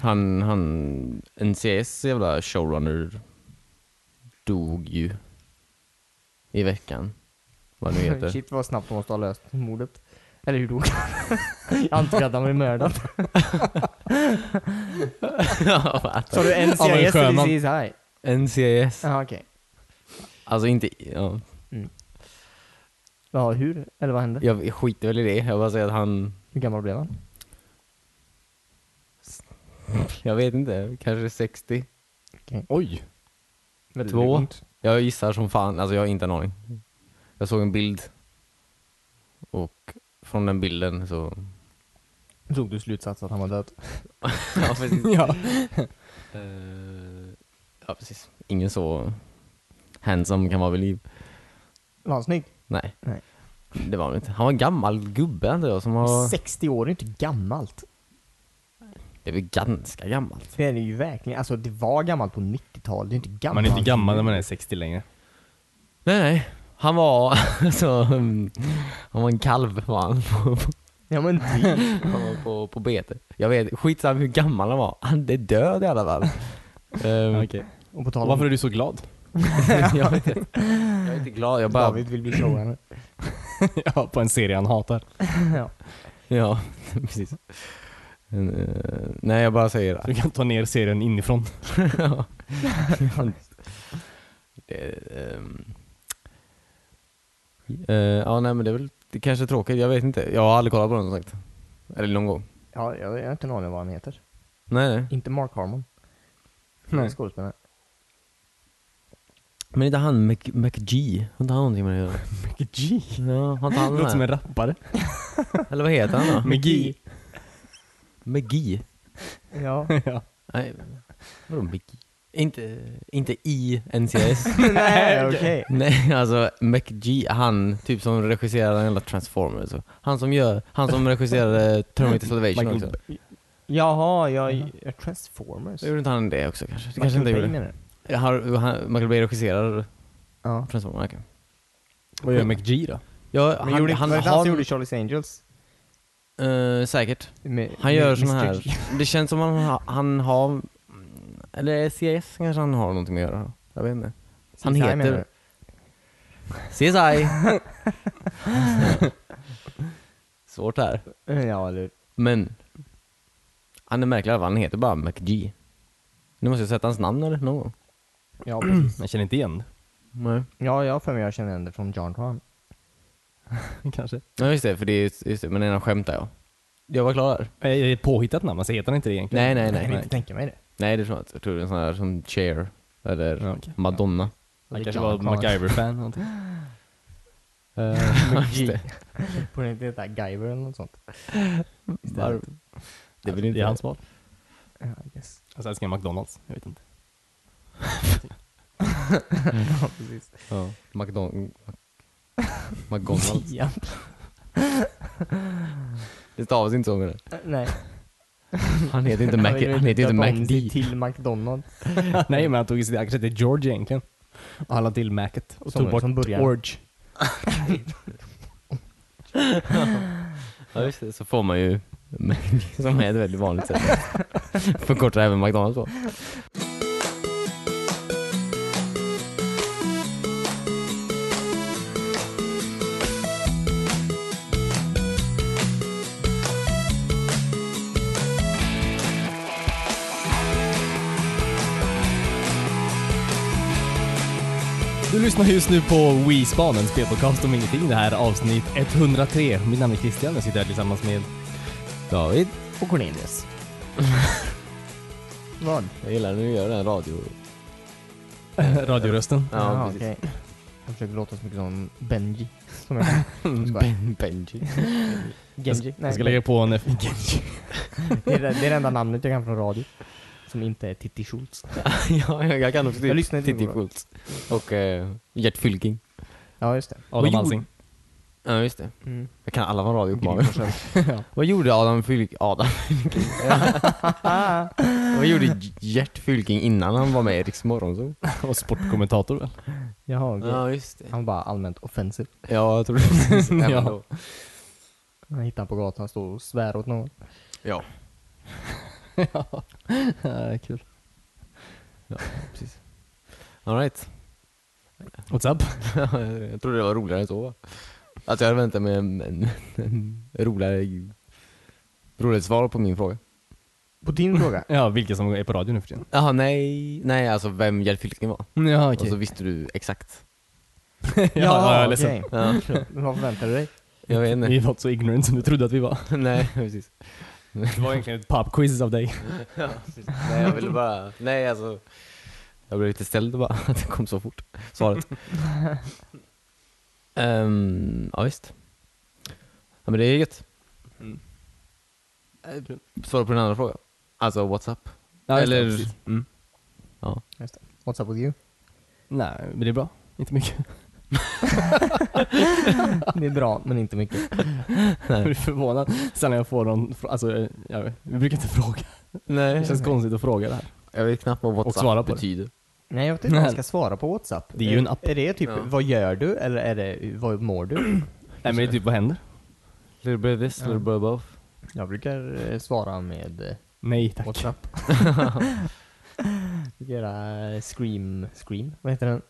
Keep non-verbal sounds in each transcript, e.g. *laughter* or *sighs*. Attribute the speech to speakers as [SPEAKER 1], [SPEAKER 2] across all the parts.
[SPEAKER 1] Han, han, NCS jävla showrunner dog ju i veckan. Vad nu heter.
[SPEAKER 2] *laughs* Shit vad snabbt de måste ha löst mordet. Eller hur dog han? *laughs* Jag antar att han blev mördad.
[SPEAKER 1] *laughs* Ja, va?
[SPEAKER 2] Sa du
[SPEAKER 3] Han var ju
[SPEAKER 2] NCIS eller
[SPEAKER 3] sjöman.
[SPEAKER 2] CSI? Ja
[SPEAKER 1] NCS.
[SPEAKER 2] ah, okej.
[SPEAKER 1] Alltså inte, ja.
[SPEAKER 2] Ja, hur? Eller vad hände?
[SPEAKER 1] jag skiter väl i det. Jag bara säger att han,
[SPEAKER 2] Hur gammal blev han?
[SPEAKER 1] jag vet inte, kanske 60.
[SPEAKER 3] Oj.
[SPEAKER 2] Väldigt
[SPEAKER 1] Två.
[SPEAKER 2] ungt.
[SPEAKER 1] Jag gissar som fan, alltså jag har inte en aning. Jag såg en bild. Och från den bilden så...
[SPEAKER 2] Drog du slutsats att han var död?
[SPEAKER 1] *laughs* ja,
[SPEAKER 2] *laughs*
[SPEAKER 1] precis.
[SPEAKER 3] Ja.
[SPEAKER 1] Eh, ja, precis. Ingen så handsome kan vara vid liv.
[SPEAKER 2] Var han snygg?
[SPEAKER 1] Nej.
[SPEAKER 2] Nej.
[SPEAKER 1] Det var han inte. Han var en gammal gubbe antar jag som var...
[SPEAKER 2] 60 år är inte gammalt.
[SPEAKER 1] Det är väl ganska gammalt.
[SPEAKER 2] Det är ju verkligen, alltså det var gammalt på 90-talet, det är inte gammalt.
[SPEAKER 3] Man är inte gammal när man är 60 längre.
[SPEAKER 1] Nej, nej. Han var *laughs* så... mm, Han var en kalv var han. *laughs*
[SPEAKER 2] Ja men typ.
[SPEAKER 1] Han var på, på bete. Jag vet, skitsamma hur gammal han var. Han är död i alla fall. Ehm,
[SPEAKER 2] Och på tal om...
[SPEAKER 3] Varför är du så glad?
[SPEAKER 1] *laughs* jag, vet, inte. jag är inte glad, jag bara...
[SPEAKER 2] David vill bli showrunner.
[SPEAKER 3] *laughs* ja, på en serie han hatar.
[SPEAKER 2] ja.
[SPEAKER 1] Ja, *laughs* precis. Men, eh, nej, jag bara säger
[SPEAKER 3] Du
[SPEAKER 1] det.
[SPEAKER 3] kan ta ner serien *laughs* inifrån.
[SPEAKER 1] Ja. *laughs* det ehm. Eh, ja, nej men det är väl det kanske är tråkigt. Jag vet inte. Jag har aldrig kollat på den som sagt. Eller någon gång.
[SPEAKER 2] ja, jag jag har inte en aning om vad han heter.
[SPEAKER 1] Nej, nej.
[SPEAKER 2] Inte Mark Harmon.
[SPEAKER 3] Nej.
[SPEAKER 2] Skådespelare.
[SPEAKER 1] Men inte han Mc, McG? Har inte han någonting med det att göra?
[SPEAKER 3] G.
[SPEAKER 1] *laughs* Ja, har inte han
[SPEAKER 3] Låter
[SPEAKER 1] den
[SPEAKER 3] som en
[SPEAKER 1] här?
[SPEAKER 3] rappare.
[SPEAKER 1] Eller vad heter han då?
[SPEAKER 3] Med G.
[SPEAKER 1] McG?
[SPEAKER 2] *laughs* Ja.
[SPEAKER 3] ja.
[SPEAKER 1] Nej, vadå McG? Inte, inte i *laughs* NCS?
[SPEAKER 2] Nej okej.
[SPEAKER 1] Nej, alltså McG, han typ som regisserade den jävla Transformers. så. Han som gör, han som regisserade eh, Terminator Salvation
[SPEAKER 3] Michael
[SPEAKER 1] också.
[SPEAKER 3] Bay.
[SPEAKER 2] Jaha, jag... jag Transformers.
[SPEAKER 1] Gjorde inte han det också kanske? Det
[SPEAKER 2] Michael
[SPEAKER 1] kanske inte
[SPEAKER 2] Bay
[SPEAKER 1] gjorde.
[SPEAKER 2] menar du?
[SPEAKER 1] Han, han, Michael Bay regisserar
[SPEAKER 2] Ja.
[SPEAKER 1] Transformers, okej.
[SPEAKER 3] Vad gör McG då?
[SPEAKER 1] Ja,
[SPEAKER 2] Men
[SPEAKER 1] han,
[SPEAKER 2] gjorde,
[SPEAKER 1] han,
[SPEAKER 2] var det han
[SPEAKER 1] har-
[SPEAKER 2] som gjorde Charlie's Angels?
[SPEAKER 1] eh, säkert.
[SPEAKER 2] Med-
[SPEAKER 1] Han gör
[SPEAKER 2] med
[SPEAKER 1] såna
[SPEAKER 2] Mr.
[SPEAKER 1] här, det känns som han, ha- han har, eller CIS kanske han har någonting med att göra. Jag vet inte. Han
[SPEAKER 2] CSI
[SPEAKER 1] heter-
[SPEAKER 2] menar du?
[SPEAKER 1] CSI! *laughs* Svårt här.
[SPEAKER 2] Ja eller
[SPEAKER 1] Men han är märklig i alla fall. han heter bara McG. Nu måste jag sätta hans namn eller någon gång.
[SPEAKER 2] Ja *clears throat* precis.
[SPEAKER 3] *laughs* Jag känner inte igen
[SPEAKER 1] Nej.
[SPEAKER 2] Ja, jag har för mig jag känner igen det från John Tran.
[SPEAKER 3] *laughs* kanske.
[SPEAKER 1] Ja just det, för det är, just det, men innan skämtar jag. Jag var klar där.
[SPEAKER 3] Nej, det är ett påhittat namn, alltså heter han inte det egentligen?
[SPEAKER 1] Nej nej
[SPEAKER 2] Jag
[SPEAKER 1] nej.
[SPEAKER 2] kan
[SPEAKER 1] Nej,
[SPEAKER 2] inte tänka mig det.
[SPEAKER 1] nej det tror jag inte. Jag tror det är en sån här som Cher eller
[SPEAKER 3] Ja, okej.
[SPEAKER 1] Madonna.
[SPEAKER 3] Han
[SPEAKER 2] Det är
[SPEAKER 3] kanske
[SPEAKER 2] John
[SPEAKER 3] var
[SPEAKER 2] Tran. *laughs*
[SPEAKER 3] MacGyver-fan någonting.
[SPEAKER 1] Eh, just
[SPEAKER 2] McGee.
[SPEAKER 1] det.
[SPEAKER 2] Borde inte heta Guyver eller något sånt?
[SPEAKER 1] Var- Det är väl
[SPEAKER 3] Det är
[SPEAKER 1] inte...
[SPEAKER 3] hans val.
[SPEAKER 2] Ja, I guess. *laughs*
[SPEAKER 3] Alltså älskar jag McDonalds, jag vet inte.
[SPEAKER 2] Ja, precis.
[SPEAKER 1] Ja. *laughs* McDon... McDonalds.
[SPEAKER 2] Ja. *laughs*
[SPEAKER 1] Det stavas inte så med det.
[SPEAKER 2] Nej.
[SPEAKER 1] Han heter inte Mac...
[SPEAKER 2] vill väl
[SPEAKER 1] Han heter inte
[SPEAKER 2] döpa om sig
[SPEAKER 1] MacD.
[SPEAKER 2] till McDonalds.
[SPEAKER 3] *laughs* Nej men han tog sitt, han kanske hette George egentligen. Och han lade till Macet och
[SPEAKER 2] Som-
[SPEAKER 3] tog bort
[SPEAKER 2] som början.
[SPEAKER 3] Orge.
[SPEAKER 1] Ja just det, så får man ju som är ett väldigt vanligt *laughs* sätt förkortar även McDonalds på.
[SPEAKER 3] Du lyssnar just nu på Wii-spanen, spelpodcast om ingenting. Det här är avsnitt 103. Mitt namn är Christian, jag sitter här tillsammans med...
[SPEAKER 1] David,
[SPEAKER 2] Och Cornelius. *laughs* Vad?
[SPEAKER 1] jag gillar när du gör den här radio...
[SPEAKER 3] Radiorösten.
[SPEAKER 2] Jaha, okej. Jag försöker låta så mycket som Benji. *laughs* Som jag skojar.
[SPEAKER 1] Mm, *laughs* Ben, Benji.
[SPEAKER 2] Genji. Nej,
[SPEAKER 3] Jag ska lägga på en...
[SPEAKER 2] det, är, det det är det enda namnet jag kan från radio. Som inte är Titti Schultz.
[SPEAKER 1] ja, jag, jag kan också
[SPEAKER 2] Jag lyssnar inte
[SPEAKER 1] Titti
[SPEAKER 2] på det.
[SPEAKER 1] Schultz. Och eh, Gert Fylking.
[SPEAKER 2] Ja, just det.
[SPEAKER 3] Adam Alsing.
[SPEAKER 1] Ja just det.
[SPEAKER 2] *laughs* Mm.
[SPEAKER 1] Jag kan alla från radioprogram.
[SPEAKER 2] Grym försök.
[SPEAKER 1] *laughs* Vad gjorde Adam Fylking? Adam Fylking? Vad gjorde Gert Fylking innan han var med i Riks Morgonzoo?
[SPEAKER 3] Och sportkommentator väl?
[SPEAKER 2] Jaha, okej.
[SPEAKER 1] just det.
[SPEAKER 2] Han var bara allmänt offensiv.
[SPEAKER 1] Ja, *laughs* jag tror det.
[SPEAKER 3] Ja.
[SPEAKER 1] ja.
[SPEAKER 2] Han hittar på gatan och står och svär åt någon.
[SPEAKER 1] ja.
[SPEAKER 3] ja, det är kul.
[SPEAKER 1] Precis. Alright.
[SPEAKER 3] What's up?
[SPEAKER 1] *laughs* jag trodde det var roligare än så. Alltså jag hade väntat mig en, en, en roligare, roligt svar på min fråga.
[SPEAKER 2] På *laughs* din fråga?
[SPEAKER 3] Ja, vilka som är på radio nu för tiden.
[SPEAKER 1] Jaha, nej, nej alltså vem Gerd Fylking var.
[SPEAKER 3] Mm, Ja,
[SPEAKER 1] Och så visste du exakt.
[SPEAKER 3] ja, ja, jag är ledsen.
[SPEAKER 2] okej.
[SPEAKER 1] Ja,
[SPEAKER 2] Men Vad förväntar du dig?
[SPEAKER 1] jag vet *laughs* inte.
[SPEAKER 3] Vi var så ignorant som du trodde att vi var.
[SPEAKER 1] nej, precis.
[SPEAKER 3] Det var egentligen ett popquiz av dig.
[SPEAKER 1] Ja, precis. Nej, jag ville bara... Nej, alltså... Jag blev lite ställd bara, *laughs* att det kom så fort, *laughs* svaret. um, ja, visst. Ja, men det är gött.
[SPEAKER 3] Mm.
[SPEAKER 1] Eh, Svara på den andra frågan. Alltså, what's up? Eller-
[SPEAKER 3] Mm.
[SPEAKER 2] What's up with you?
[SPEAKER 3] Nej, men det är bra. Inte mycket.
[SPEAKER 2] Det är bra, men inte mycket.
[SPEAKER 3] Jag blir förvånad sällan jag får någon fr- alltså, eh, jag, vet- vi brukar inte fråga. Det
[SPEAKER 1] Nej.
[SPEAKER 3] känns konstigt att fråga det här.
[SPEAKER 1] Jag vet knappt vad
[SPEAKER 3] Och
[SPEAKER 1] what's
[SPEAKER 3] svara
[SPEAKER 1] up
[SPEAKER 3] på det.
[SPEAKER 1] betyder.
[SPEAKER 2] Nej, jag vet inte vad jag ska svara på WhatsApp.
[SPEAKER 3] Det är ju en app.
[SPEAKER 2] Är det typ,
[SPEAKER 1] Ja.
[SPEAKER 2] vad gör du? Eller är det, vad mår du?
[SPEAKER 3] Nej men det är typ, vad händer?
[SPEAKER 1] Little bit of this,
[SPEAKER 2] little
[SPEAKER 1] bit of both.
[SPEAKER 2] Jag brukar eh, svara med eh,
[SPEAKER 3] Nej
[SPEAKER 2] *laughs*
[SPEAKER 3] tack.
[SPEAKER 2] WhatsApp. Jag brukar göra eh, Scream, Scream, vad heter den?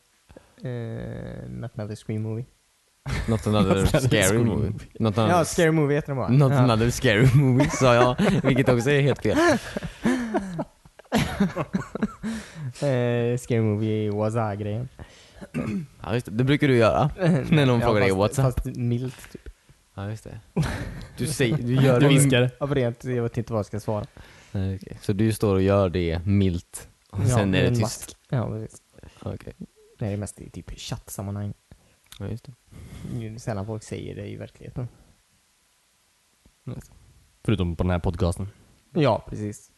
[SPEAKER 2] Eh, not another Scream movie.
[SPEAKER 1] *laughs* Not another scary
[SPEAKER 3] Scream.
[SPEAKER 1] movie. Not another,
[SPEAKER 2] Ja, Scary Movie heter den bara.
[SPEAKER 1] *laughs* Not
[SPEAKER 2] ja.
[SPEAKER 1] another scary movie, sa jag. Vilket också är helt *laughs* fel.
[SPEAKER 2] Eh, scary Movie Waza-grejen.
[SPEAKER 1] Ja, just det. det brukar du göra. *laughs* När någon frågar dig
[SPEAKER 2] fast-
[SPEAKER 1] what's up.
[SPEAKER 2] Fast milt, typ.
[SPEAKER 1] Ja, just det. Du, säger, du gör
[SPEAKER 3] Du viskar.
[SPEAKER 2] Av rent, jag vet inte vad jag ska svara.
[SPEAKER 1] Nej, okej. Så du står och gör det milt och
[SPEAKER 2] Ja,
[SPEAKER 1] sen är
[SPEAKER 2] med
[SPEAKER 1] det
[SPEAKER 2] en
[SPEAKER 1] tyst?
[SPEAKER 2] mask. Ja, precis.
[SPEAKER 1] Ja, Okej.
[SPEAKER 2] Det är mest i typ chattsammanhang.
[SPEAKER 1] Ja, just det.
[SPEAKER 2] Det är Sällan folk säger det i verkligheten.
[SPEAKER 3] Förutom på den här podcasten.
[SPEAKER 2] Ja, precis.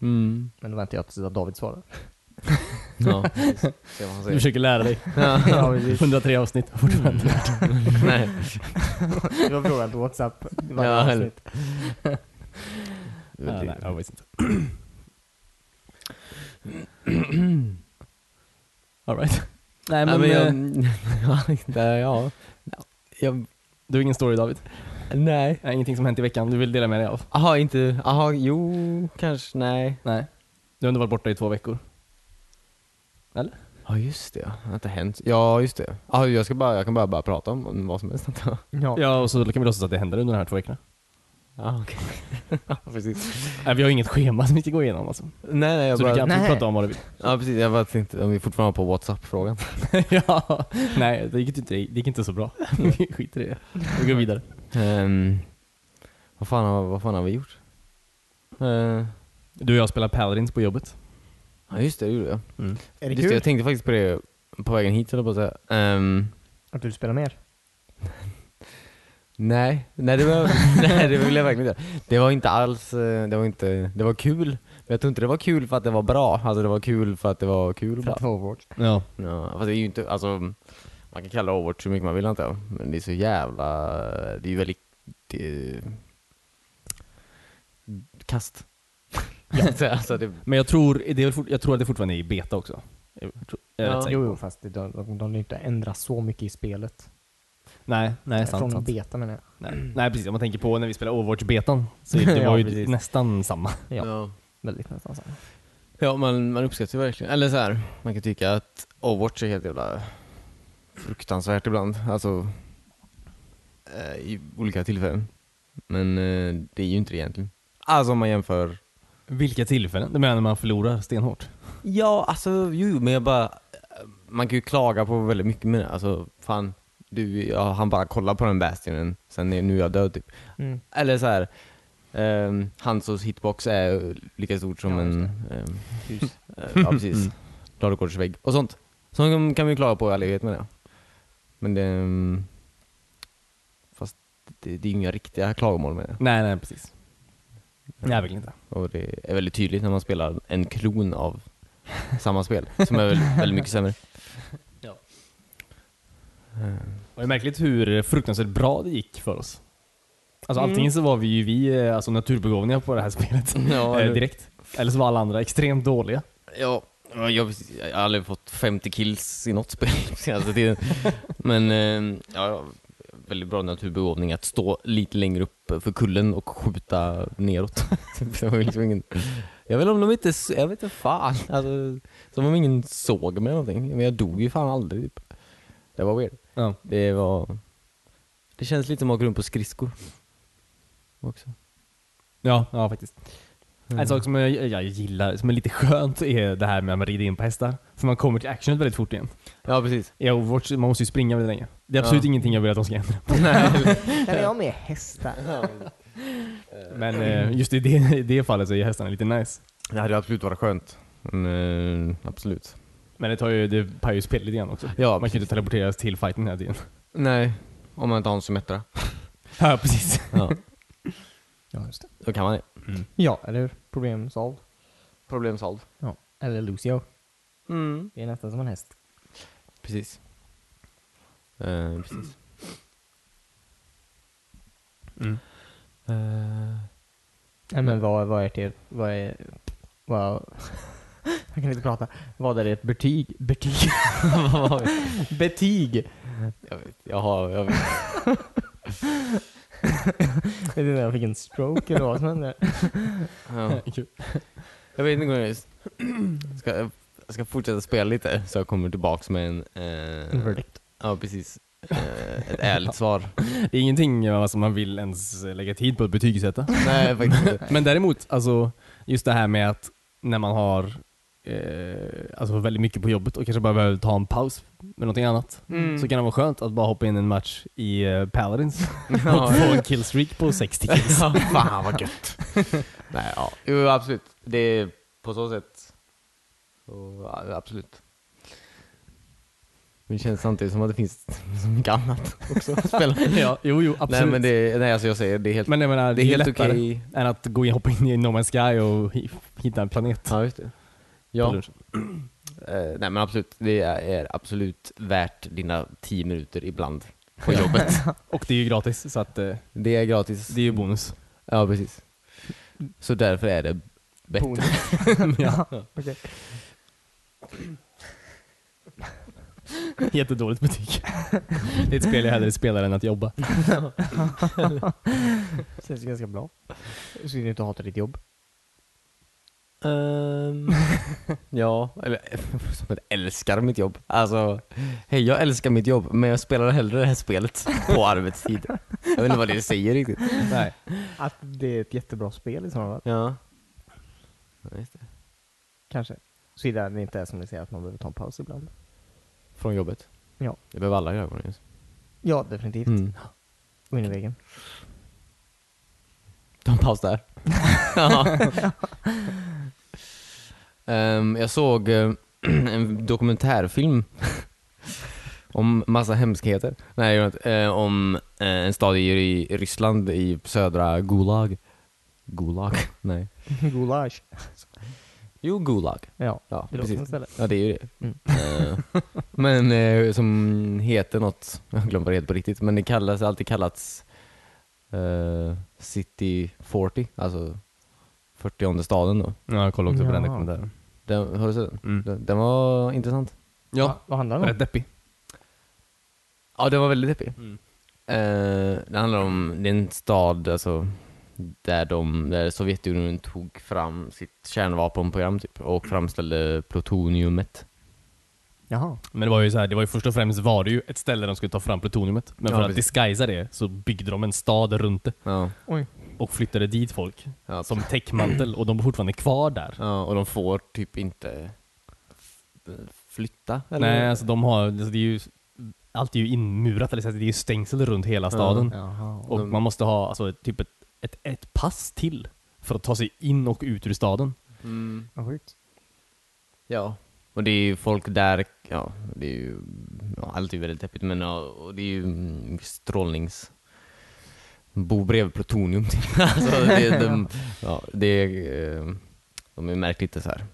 [SPEAKER 1] Mm.
[SPEAKER 2] Men då väntar jag tills att
[SPEAKER 1] *laughs*
[SPEAKER 2] David svarar.
[SPEAKER 1] Ja, precis. *laughs* Se vad han
[SPEAKER 3] Du
[SPEAKER 1] säger.
[SPEAKER 3] försöker lära dig.
[SPEAKER 2] ja, precis.
[SPEAKER 3] 103 avsnitt fortfarande.
[SPEAKER 1] Nej.
[SPEAKER 2] Du har frågat på WhatsApp varje
[SPEAKER 1] Ja, eller-
[SPEAKER 2] avsnitt.
[SPEAKER 3] Ja, nej, jag visste inte. *clears throat* Alright. Nej men,
[SPEAKER 1] Nej, men
[SPEAKER 3] eh,
[SPEAKER 1] jag... *laughs* Nej, ja. Jag...
[SPEAKER 3] du har ingen story David?
[SPEAKER 1] Nej.
[SPEAKER 3] Nej, ingenting som hänt i veckan du vill dela med dig av?
[SPEAKER 1] Jaha, inte... Jaha, jo, kanske. Nej.
[SPEAKER 3] Nej. Du har ändå varit borta i två veckor.
[SPEAKER 1] Ja, just det. Det har inte hänt. Ja, just det. Ja, jag, ska bara, jag kan bara börja prata om- om vad som helst. *laughs* antar jag.
[SPEAKER 2] Ja.
[SPEAKER 3] Ja och så kan vi låtsas att det händer under de här två veckorna.
[SPEAKER 1] Ja, okej. Ja, precis.
[SPEAKER 3] Nej vi har inget schema *laughs* som vi ska gå igenom alltså.
[SPEAKER 1] Nej, nej, jag
[SPEAKER 3] Så du
[SPEAKER 1] bara...
[SPEAKER 3] kan absolut
[SPEAKER 2] Nej.
[SPEAKER 3] prata om vad du vill.
[SPEAKER 1] Ja, precis. Jag bara tänkte om vi fortfarande var på WhatsApp-frågan. *laughs*
[SPEAKER 3] ja. Nej det gick, inte, det gick inte så bra. Vi skiter i det. Vi går vidare.
[SPEAKER 1] Ehm, vad, fan har, vad fan har vi gjort? Ehm,
[SPEAKER 3] Du och jag spelar Paladins på jobbet.
[SPEAKER 1] ja just det, det gjorde jag.
[SPEAKER 2] Är det
[SPEAKER 1] Just det,
[SPEAKER 2] kul
[SPEAKER 1] jag tänkte faktiskt på det på vägen hit eller på att säga. Ehm,
[SPEAKER 2] att du spelar mer?
[SPEAKER 1] nej, nej det, *laughs* var, nej det vill jag verkligen inte. Det var inte alls, eh, det var inte, det var kul. Men jag tror inte det var kul för att det var bra. Alltså det var kul för att det var kul
[SPEAKER 2] För
[SPEAKER 1] bara.
[SPEAKER 2] att vara Overwatch?
[SPEAKER 3] Ja.
[SPEAKER 1] Ja, fast det är ju inte, alltså man kan kalla det Overwatch hur mycket man vill antar jag. Men det är så jävla, det är ju väldigt det, kast. *laughs* alltså, det,
[SPEAKER 3] Men jag tror, det är väl fort, jag tror att det fortfarande är i beta också. Jag tror- jag är
[SPEAKER 1] Ja.
[SPEAKER 3] rätt säker
[SPEAKER 2] Jo,
[SPEAKER 3] på.
[SPEAKER 2] jo, fast det- de, de, de inte ändra så mycket i spelet.
[SPEAKER 3] Nej, nej sant,
[SPEAKER 2] Från
[SPEAKER 3] sant.
[SPEAKER 2] beta menar jag.
[SPEAKER 3] Nej. nej precis, om man tänker på när vi spelar Overwatch-betan
[SPEAKER 2] *laughs*
[SPEAKER 3] så det
[SPEAKER 2] Ja,
[SPEAKER 3] var ju
[SPEAKER 2] precis.
[SPEAKER 3] nästan samma.
[SPEAKER 2] Ja.
[SPEAKER 1] ja.
[SPEAKER 2] Väldigt nästan samma.
[SPEAKER 1] Ja, man, man uppskattar ju verkligen, eller så här, man kan tycka att Overwatch är helt jävla fruktansvärt ibland, alltså eh, i olika tillfällen. Men eh, det är ju inte det egentligen. Alltså om man jämför.
[SPEAKER 3] Vilka tillfällen? Du menar när man förlorar stenhårt?
[SPEAKER 1] Ja, alltså jo, men jag bara, eh, man kan ju klaga på väldigt mycket med det, alltså fan, du, ja, han bara kollar på den bastionen, sen är, nu är jag död typ.
[SPEAKER 2] Mm.
[SPEAKER 1] Eller så här, ehm, Hansos hitbox är lika stort som
[SPEAKER 2] Ja,
[SPEAKER 1] en...
[SPEAKER 2] just
[SPEAKER 1] ehm, *laughs* Eh, Ja precis.
[SPEAKER 3] Mm.
[SPEAKER 1] Ladugårdsvägg och sånt. Sånt kan vi klara på i all evighet med det. Men det... mm, Fast det, det är inga riktiga klagomål med det.
[SPEAKER 3] Nej, nej precis. Nej, verkligen inte.
[SPEAKER 1] Och det är väldigt tydligt när man spelar en klon av samma spel. Som är väl, väldigt mycket sämre.
[SPEAKER 3] Ja.
[SPEAKER 1] Eh,
[SPEAKER 3] Och det är märkligt hur fruktansvärt bra det gick för oss. Alltså
[SPEAKER 2] Mm.
[SPEAKER 3] antingen så var vi ju vi, eh, alltså naturbegåvningar på det här spelet.
[SPEAKER 1] Ja,
[SPEAKER 2] Mm.
[SPEAKER 3] *laughs* eh,
[SPEAKER 1] eller-
[SPEAKER 3] direkt. Eller så var alla andra extremt dåliga.
[SPEAKER 1] Ja, ja, jag, jag har *laughs* aldrig fått 50 kills i något spel senaste tiden. Men eh, ehm, ja, väldigt bra naturbegåvning att stå lite längre upp för kullen och skjuta neråt. *laughs* det var ju liksom ingen... Jag vet inte om de inte, jag vet inte fan. Alltså, som om ingen såg mig eller någonting. Men jag dog ju fan aldrig typ. Det var weird.
[SPEAKER 3] Ja.
[SPEAKER 1] Det var... Det känns lite som att åka runt på skridskor. Också.
[SPEAKER 3] Ja, ja faktiskt.
[SPEAKER 2] Mm.
[SPEAKER 3] En sak som jag, jag gillar, som är lite skönt, är det här med att man rider in på hästar. För man kommer till actionet väldigt fort igen.
[SPEAKER 1] Ja, precis.
[SPEAKER 3] I Overwatch, man måste ju springa väldigt länge. Det är absolut
[SPEAKER 1] Ja.
[SPEAKER 3] ingenting jag vill att de ska ändra.
[SPEAKER 2] Där är jag med hästar.
[SPEAKER 3] Men eh, just i det, *laughs* i det fallet så är hästarna lite nice.
[SPEAKER 1] Det hade absolut varit skönt. Men, eh, absolut.
[SPEAKER 3] Men det tar ju, det pajar ju spelet lite grann också.
[SPEAKER 1] Ja,
[SPEAKER 3] Man kan ju inte teleporteras till fighten hela tiden.
[SPEAKER 1] Nej, om man inte har en symmetra.
[SPEAKER 3] Ja, precis.
[SPEAKER 1] *laughs* *laughs* Ja,
[SPEAKER 2] Ja, just det.
[SPEAKER 1] då kan man det.
[SPEAKER 3] Mm.
[SPEAKER 2] Ja, eller hur? Problem solved.
[SPEAKER 1] Problem solved.
[SPEAKER 2] Ja. Eller Lucio. Det är nästan som en häst.
[SPEAKER 1] Precis. Eh, precis.
[SPEAKER 3] Mm.
[SPEAKER 1] Eh, *laughs*
[SPEAKER 2] Nej men vad, vad är det, vad är, vad, *laughs* jag kan inte prata. Vad är det ett betyg, betyg, *laughs*
[SPEAKER 1] vad var det?
[SPEAKER 2] betyg?
[SPEAKER 1] jag vet, jag har, jag vet.
[SPEAKER 2] Jag vet inte, jag fick en stroke eller vad som *laughs* hände.
[SPEAKER 1] *laughs* Ja.
[SPEAKER 3] Kul.
[SPEAKER 1] Jag vet inte om jag ska, jag ska fortsätta spela lite så jag kommer tillbaks med en... eh,
[SPEAKER 2] Verdict.
[SPEAKER 1] ja, *laughs* precis. Eh, ett ärligt svar.
[SPEAKER 3] Det är ingenting eh, som man vill ens lägga tid på att betygsätta.
[SPEAKER 1] Nej, faktiskt inte.
[SPEAKER 3] Men däremot, alltså, just det här med att när man har eh, alltså väldigt mycket på jobbet och kanske bara behöver ta en paus med någonting annat.
[SPEAKER 1] Mm.
[SPEAKER 3] Så kan det vara skönt att bara hoppa in i en match i eh, Paladins och
[SPEAKER 1] *laughs* Ja.
[SPEAKER 3] få en killstreak på 60
[SPEAKER 1] *laughs*
[SPEAKER 3] kills.
[SPEAKER 1] Ja, fan vad gött.
[SPEAKER 3] *laughs*
[SPEAKER 1] Nej, ja. Jo, absolut. Det är på så sätt. Så, ja, absolut. Men det känns samtidigt som att det finns så mycket annat också att *laughs* spela.
[SPEAKER 3] ja, jo, jo, absolut.
[SPEAKER 1] nej,
[SPEAKER 3] men,
[SPEAKER 1] men
[SPEAKER 3] det,
[SPEAKER 1] det, nej, alltså jag säger det är helt,
[SPEAKER 3] Typ. men jag menar,
[SPEAKER 1] det är helt
[SPEAKER 3] lättare
[SPEAKER 1] okej.
[SPEAKER 3] än att gå in, hoppa in i No Man's Sky och hi- hitta en planet.
[SPEAKER 1] Ja, just det. Ja,
[SPEAKER 3] Eller-
[SPEAKER 1] eh, nej men absolut. Det är, är absolut värt dina tio minuter ibland *laughs* på jobbet.
[SPEAKER 3] Och det är ju gratis, så att, eh,
[SPEAKER 1] det är gratis.
[SPEAKER 3] det är ju bonus.
[SPEAKER 1] Ja, precis. Så därför är det bättre.
[SPEAKER 2] *laughs*
[SPEAKER 3] ja.
[SPEAKER 2] Okej.
[SPEAKER 3] *laughs* Jättedåligt betyg. *laughs* Det är ett spel jag hellre spelar än att *laughs* jobba.
[SPEAKER 2] Känns ganska bra. Så du inte hatar ditt jobb.
[SPEAKER 1] Ehm, *laughs* ja, eller *laughs* som att jag älskar mitt jobb. Alltså, hej jag älskar mitt jobb men jag spelar hellre det här spelet *laughs* på arbetstid. Jag vet inte vad det säger riktigt.
[SPEAKER 3] Nej.
[SPEAKER 2] Att det är ett jättebra spel i sådana fall.
[SPEAKER 1] Ja. Ja, just det.
[SPEAKER 2] Kanske. Såvida det inte är som ni säger att man behöver ta en paus ibland.
[SPEAKER 1] Från jobbet.
[SPEAKER 2] Ja.
[SPEAKER 1] Jag behöver alla ögonen just.
[SPEAKER 2] Ja, definitivt.
[SPEAKER 1] Mm.
[SPEAKER 2] Och in i *laughs* väggen.
[SPEAKER 1] Ta en paus där. ja. *laughs* Ehm, jag såg eh, *clears throat* en dokumentärfilm om massa hemskheter. Nej, jag vet inte. Eh, om eh, en stad i i Ryssland i södra Gulag. Gulag? Nej.
[SPEAKER 2] Goulash.
[SPEAKER 1] Jo, Gulag.
[SPEAKER 2] Ja,
[SPEAKER 1] Ja,
[SPEAKER 2] det låter som
[SPEAKER 1] precis.
[SPEAKER 2] ett ställe.
[SPEAKER 1] Ja, det är ju det.
[SPEAKER 2] Mm.
[SPEAKER 1] Eh, men eh, som heter något, jag har glömt vad det heter på riktigt, men det kallas, alltid kallats eh, City 40, alltså 40 staden då.
[SPEAKER 3] Ja, jag kollade också på den
[SPEAKER 2] Ja.
[SPEAKER 3] dokumentären.
[SPEAKER 1] Den, har du sett den?
[SPEAKER 3] Mm.
[SPEAKER 1] den? Den var intressant.
[SPEAKER 3] Ja,
[SPEAKER 2] Vad handlar det
[SPEAKER 3] rätt
[SPEAKER 2] om?
[SPEAKER 3] deppig. Mm.
[SPEAKER 1] Ja, den var väldigt deppig. Eh, det handlar om, det är en stad alltså, där, de, där Sovjetunionen tog fram sitt kärnvapenprogram typ, och framställde plutoniumet.
[SPEAKER 2] Jaha.
[SPEAKER 3] Men det var ju så här, det var ju först och främst var det ju ett ställe där de skulle ta fram plutoniumet. Men
[SPEAKER 1] Ja,
[SPEAKER 3] för att
[SPEAKER 1] precis.
[SPEAKER 3] disguisa det så byggde de en stad runt det
[SPEAKER 1] Ja,
[SPEAKER 2] Oj.
[SPEAKER 3] och flyttade dit folk
[SPEAKER 1] ja,
[SPEAKER 3] som täckmantel och de bor fortfarande kvar där.
[SPEAKER 1] Ja, och de får typ inte f- flytta? Eller?
[SPEAKER 3] Nej, alltså de har, alltså det är ju, allt är ju inmurat eller så att det är ju stängsel runt hela staden.
[SPEAKER 2] Jaha.
[SPEAKER 3] Och man måste ha alltså, ett- typ ett, ett, ett pass till för att ta sig in och ut ur staden.
[SPEAKER 1] Mm,
[SPEAKER 2] Vad sjukt.
[SPEAKER 1] ja. Och det är ju folk där, ja, det är ju, ja, allt är ju väldigt deppigt men ja, och det är ju mm, strålnings... Bo bredvid plutonium *laughs* typ. alltså, det, de, ja, det är, eh, de har ju märkt lite så här.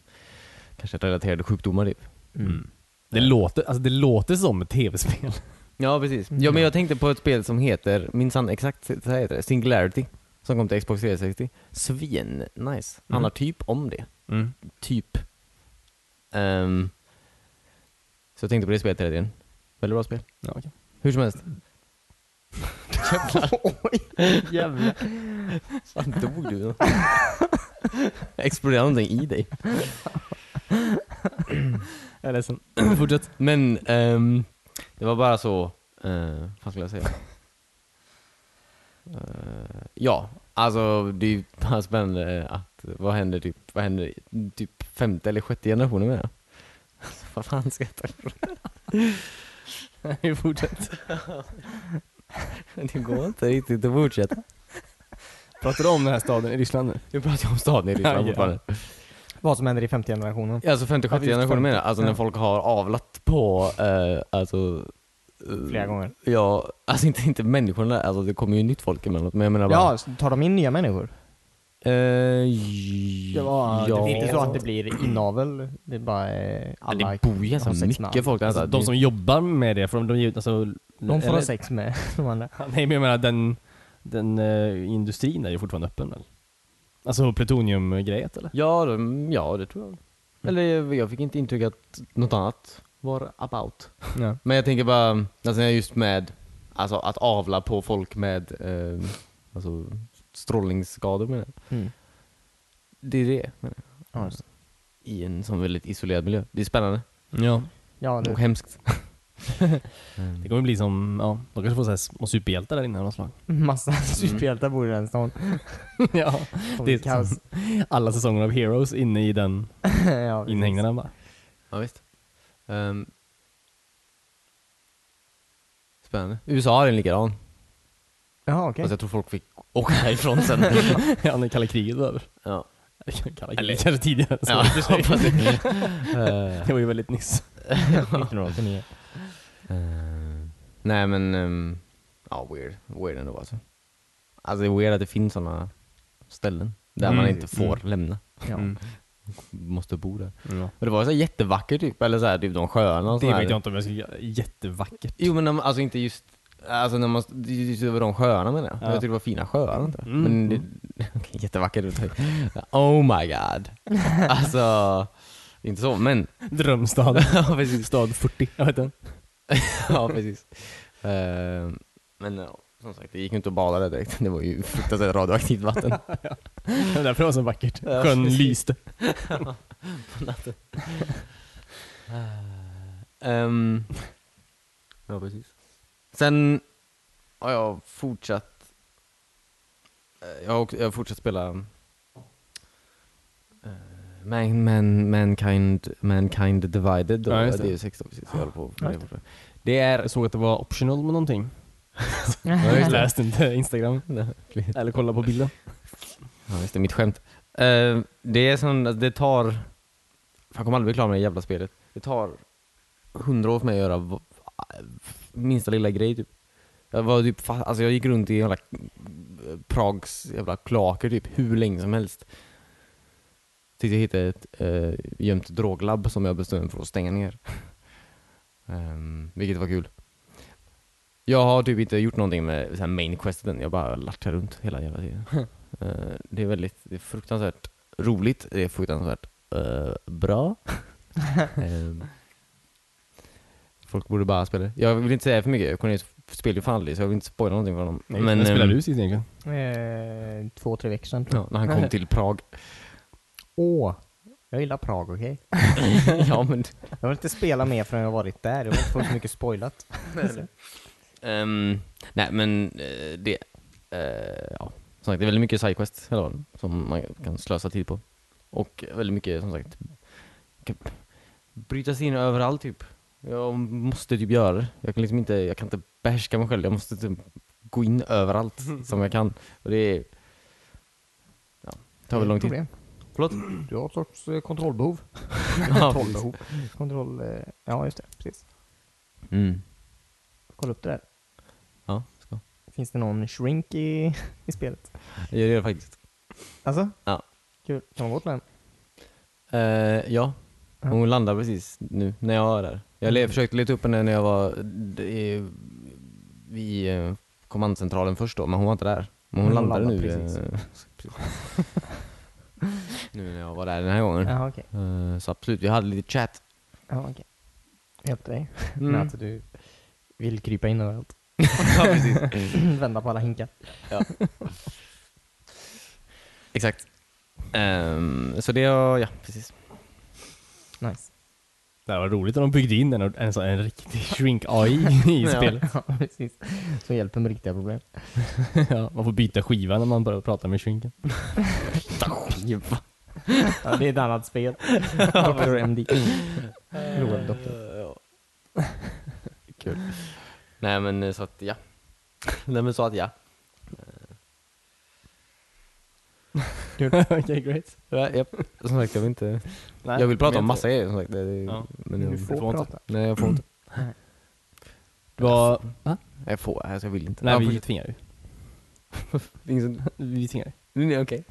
[SPEAKER 1] kanske relaterade sjukdomar typ.
[SPEAKER 3] Mm. Det, låter, alltså, det låter som ett tv-spel.
[SPEAKER 1] Ja precis. Ja men jag tänkte på ett spel som heter, minsann exakt så här heter det, Singularity. Som kom till Xbox 360. Svin, nice. Handlar typ om det.
[SPEAKER 3] Mm.
[SPEAKER 1] typ. Ehm, så jag tänkte på det spelet hela tiden. Väldigt bra spel.
[SPEAKER 2] *laughs*
[SPEAKER 3] Ja, okej.
[SPEAKER 1] Hur som helst.
[SPEAKER 2] Jävlar.
[SPEAKER 1] Fan dog du? då? *laughs* Exploderade någonting i dig?
[SPEAKER 2] Jag är ledsen. *clears throat*
[SPEAKER 1] Fortsätt. Men ehm, det var bara så, eh, vad skulle jag säga? Eh, ja, alltså det är ju bara spännande att vad händer typ, vad händer i typ femte eller sjätte generationen med det? Alltså, *laughs* vad fan ska jag ta ifrån? *laughs*
[SPEAKER 3] Vi fortsätter.
[SPEAKER 1] Det går inte riktigt att fortsätta.
[SPEAKER 3] Pratar du om den här staden i Ryssland nu?
[SPEAKER 1] Vi pratar om staden i Ryssland
[SPEAKER 3] Ja.
[SPEAKER 1] fortfarande.
[SPEAKER 2] Vad som händer i femte generationen.
[SPEAKER 1] Alltså femte, sjätte
[SPEAKER 2] Ja, just
[SPEAKER 1] generationen menar jag.
[SPEAKER 2] femte.
[SPEAKER 1] Alltså när
[SPEAKER 2] Ja.
[SPEAKER 1] folk har avlat på, eh, alltså eh,
[SPEAKER 2] Flera gånger.
[SPEAKER 1] Ja, alltså inte, inte människorna, alltså det kommer ju nytt folk emellanåt men jag menar bara
[SPEAKER 2] Ja, så tar de in nya människor?
[SPEAKER 1] Eh,
[SPEAKER 3] Ja,
[SPEAKER 1] ja,
[SPEAKER 3] det
[SPEAKER 2] Det är
[SPEAKER 3] Ja.
[SPEAKER 2] inte så att det blir inavel, det är bara eh,
[SPEAKER 1] Ja,
[SPEAKER 2] alla...
[SPEAKER 1] det bor ju ganska
[SPEAKER 2] har sex
[SPEAKER 1] mycket
[SPEAKER 2] med
[SPEAKER 1] folk där.
[SPEAKER 3] Alltså,
[SPEAKER 1] Alltså,
[SPEAKER 3] de som jobbar med det, för de, de ger ut alltså...
[SPEAKER 2] De får
[SPEAKER 3] eller-
[SPEAKER 2] ha sex med *laughs* de andra.
[SPEAKER 3] Nej men jag menar den, den eh, industrin är ju fortfarande öppen väl? Alltså plutoniumgrejet eller?
[SPEAKER 1] ja, de, ja, det tror jag. Eller jag- jag fick inte intryck att något annat var about.
[SPEAKER 3] Ja.
[SPEAKER 1] Men jag tänker bara, alltså när jag just med, alltså att avla på folk med eh, alltså, strålningsskador menar jag.
[SPEAKER 2] Mm.
[SPEAKER 1] Det är det menar jag.
[SPEAKER 2] Ja, just det.
[SPEAKER 1] I en sån väldigt isolerad miljö. Det är spännande
[SPEAKER 3] ja.
[SPEAKER 2] ja
[SPEAKER 1] och
[SPEAKER 2] det,
[SPEAKER 1] hemskt.
[SPEAKER 3] Det kommer bli som, ja, de kanske får såhär små superhjältar där inne av något slag.
[SPEAKER 2] *laughs* massa superhjältar bor i den stan.
[SPEAKER 3] *laughs* ja.
[SPEAKER 2] Som
[SPEAKER 3] Det är-
[SPEAKER 2] kaos.
[SPEAKER 3] Alla säsonger av Heroes inne i den
[SPEAKER 2] *laughs* ja, precis.
[SPEAKER 3] inhägnaden bara.
[SPEAKER 1] Ja, visst. Ehm. spännande. USA har en likadan.
[SPEAKER 2] Jaha, okej.
[SPEAKER 1] Fast jag tror folk fick åka härifrån sen.
[SPEAKER 3] *laughs* ja, när kalla kriget var över.
[SPEAKER 1] ja.
[SPEAKER 3] Eller *laughs* Kalla
[SPEAKER 1] Eller-
[SPEAKER 3] kriget kanske tidigare. så
[SPEAKER 1] Ja,
[SPEAKER 3] i och för sig.
[SPEAKER 1] hoppas
[SPEAKER 3] *laughs*
[SPEAKER 1] *laughs*
[SPEAKER 3] det var ju väldigt nyss.
[SPEAKER 2] 1989.
[SPEAKER 1] Eh, nej men, ehm, ja weird. Weird ändå alltså. Alltså det är weird att det finns sådana ställen där
[SPEAKER 3] Mm.
[SPEAKER 1] man inte får lämna.
[SPEAKER 2] Ja.
[SPEAKER 3] Mm.
[SPEAKER 1] Måste bo där.
[SPEAKER 3] Ja.
[SPEAKER 1] Men det var så här jättevackert typ, eller så här, typ de sjöarna och
[SPEAKER 3] Det
[SPEAKER 1] sådär.
[SPEAKER 3] vet jag inte om jag skulle göra. Jättevackert.
[SPEAKER 1] Jo men de, alltså inte just, alltså när man, det är just över de sjöarna menar jag.
[SPEAKER 3] Ja.
[SPEAKER 1] Jag tyckte det var typ fina sjöar inte.
[SPEAKER 3] Mm.
[SPEAKER 1] Men det, *laughs* okej, jättevackert. typ. Oh my
[SPEAKER 3] *laughs*
[SPEAKER 1] god. Alltså, inte så men.
[SPEAKER 3] Drömstad.
[SPEAKER 1] *laughs* Ja, precis.
[SPEAKER 3] Stad 40. Jag vet inte.
[SPEAKER 1] *laughs* ja, precis. Eh, men ja, som sagt, det gick ju inte att bada där direkt. Det var ju fruktansvärt radioaktivt vatten.
[SPEAKER 3] Det var därför det var så vackert.
[SPEAKER 1] Ja,
[SPEAKER 3] Sjön
[SPEAKER 1] precis.
[SPEAKER 3] lyste.
[SPEAKER 1] *laughs* Ehm, ja, precis. Sen har jag fortsatt eh, jag har, också, jag har fortsatt spela eh, Man, man, mankind, mankind Divided då.
[SPEAKER 3] Ja,
[SPEAKER 1] det.
[SPEAKER 3] just det.
[SPEAKER 1] är ju 16 precis, jag håller på
[SPEAKER 2] Ja,
[SPEAKER 1] med
[SPEAKER 2] just
[SPEAKER 1] det fortfarande. Det är...
[SPEAKER 3] Jag såg att det var optional med någonting.
[SPEAKER 1] Ja, just
[SPEAKER 3] Jag
[SPEAKER 2] *laughs*
[SPEAKER 1] det.
[SPEAKER 3] läste inte Instagram. Eller kolla på bilden.
[SPEAKER 1] Ja, just det, mitt skämt. Eh, det är som, alltså, det tar... Fan, jag kommer aldrig bli klar med det jävla spelet. Det tar hundra år för mig att göra v- minsta lilla grej typ. Jag var typ fa- alltså jag gick runt i jävla Prags jävla kloaker typ hur länge som helst. Tills jag hittade ett eh, gömt droglabb som jag bestämde mig för att stänga ner. *laughs* Ehm, vilket var kul. Jag har typ inte gjort någonting med så här main questen, jag bara latchar runt hela jävla
[SPEAKER 3] *laughs*
[SPEAKER 1] tiden. Eh, det är väldigt, det är fruktansvärt roligt, det är fruktansvärt eh,
[SPEAKER 3] *laughs*
[SPEAKER 1] bra. Ehm, folk borde bara spela det. Jag vill inte säga för mycket, Cornelius spelar ju fan aldrig så jag vill inte spoila någonting för honom.
[SPEAKER 3] Nej, men, när
[SPEAKER 1] ehm,
[SPEAKER 3] spelade du sist egentligen?
[SPEAKER 2] Eh, två, tre veckor sedan tror
[SPEAKER 1] Ja, när han kom till Prag.
[SPEAKER 2] jag. Åh! Jag gillar Prag, okej?
[SPEAKER 1] *laughs* ja, men,
[SPEAKER 2] Jag vill inte spela mer förrän jag varit där. Jag vill inte få så mycket spoilat.
[SPEAKER 1] Ehm, nej, men eh, det... eh, ja. Som sagt, det är väldigt mycket sidequest hela dagen som man kan slösa tid på. Och väldigt mycket, som sagt, kan bryta sig in överallt typ. Jag måste typ göra det. Jag kan liksom inte, jag kan inte behärska mig själv. Jag måste typ gå in överallt som jag kan. Och det är... Ja, tar väl lång tid.
[SPEAKER 2] Problem.
[SPEAKER 1] Förlåt?
[SPEAKER 2] Du har ett sorts eh, kontrollbehov.
[SPEAKER 1] *laughs* Ja, precis.
[SPEAKER 2] Kontrollbehov. Kontroll... Eh, ja, just det. Precis.
[SPEAKER 1] Mm.
[SPEAKER 2] Kolla upp det där.
[SPEAKER 1] Ja, ska.
[SPEAKER 2] Finns det någon shrink i, *laughs* i spelet?
[SPEAKER 1] Jag gör det faktiskt.
[SPEAKER 2] Alltså?
[SPEAKER 1] Ja.
[SPEAKER 2] Kul. Kan man gå till den?
[SPEAKER 1] Eh, ja, Mm.
[SPEAKER 2] Ja.
[SPEAKER 1] hon landar precis nu när jag är där. Jag le- försökte leta upp henne när jag var d- i- vid eh, kommandcentralen först då, men hon var inte där. Men hon,
[SPEAKER 2] Men hon
[SPEAKER 1] landade
[SPEAKER 2] landar
[SPEAKER 1] nu.
[SPEAKER 2] precis.
[SPEAKER 1] *laughs* eh, nu när jag var där den här gången.
[SPEAKER 2] Jaha, okej.
[SPEAKER 1] Eh, så absolut, vi hade lite chatt.
[SPEAKER 2] Jaha, okej. Hjälpte dig.
[SPEAKER 1] Mm.
[SPEAKER 2] Men att du vill krypa in överallt. *clears throat*
[SPEAKER 1] ja, precis. *laughs*
[SPEAKER 2] Vända på alla hinkar.
[SPEAKER 1] Exakt. Ehm, så det har, ja precis.
[SPEAKER 2] Nice.
[SPEAKER 3] Det här var roligt när de byggde in en, en, sån- en riktig
[SPEAKER 1] *laughs*
[SPEAKER 3] shrink-AI i spelet.
[SPEAKER 2] *laughs* Ja, precis. Som hjälper med riktiga problem.
[SPEAKER 3] Ja, man får byta skiva när man börjar prata med shrinken.
[SPEAKER 2] Ja, det är ett annat *laughs* spel. Dr. MD. Rolig doktor.
[SPEAKER 1] Kul. Nej men eh, så att ja. Nej men så att ja.
[SPEAKER 3] *laughs* Okej, great.
[SPEAKER 1] ja japp. Som sagt jag vill inte,
[SPEAKER 3] Nej,
[SPEAKER 1] jag vill prata om
[SPEAKER 3] vet
[SPEAKER 1] massa grejer som sagt. Det, är-
[SPEAKER 3] Ja.
[SPEAKER 1] Men
[SPEAKER 2] Du
[SPEAKER 1] jag,
[SPEAKER 2] får prata.
[SPEAKER 1] Nej jag får inte.
[SPEAKER 3] det. Vad-
[SPEAKER 1] Jag får, alltså jag vill inte.
[SPEAKER 3] Nej,
[SPEAKER 1] Ja,
[SPEAKER 3] vi
[SPEAKER 1] fortsätt. *laughs*
[SPEAKER 3] tvingar ju.
[SPEAKER 1] Ingen som-
[SPEAKER 3] Vi tvingar ju.
[SPEAKER 1] Nej okej.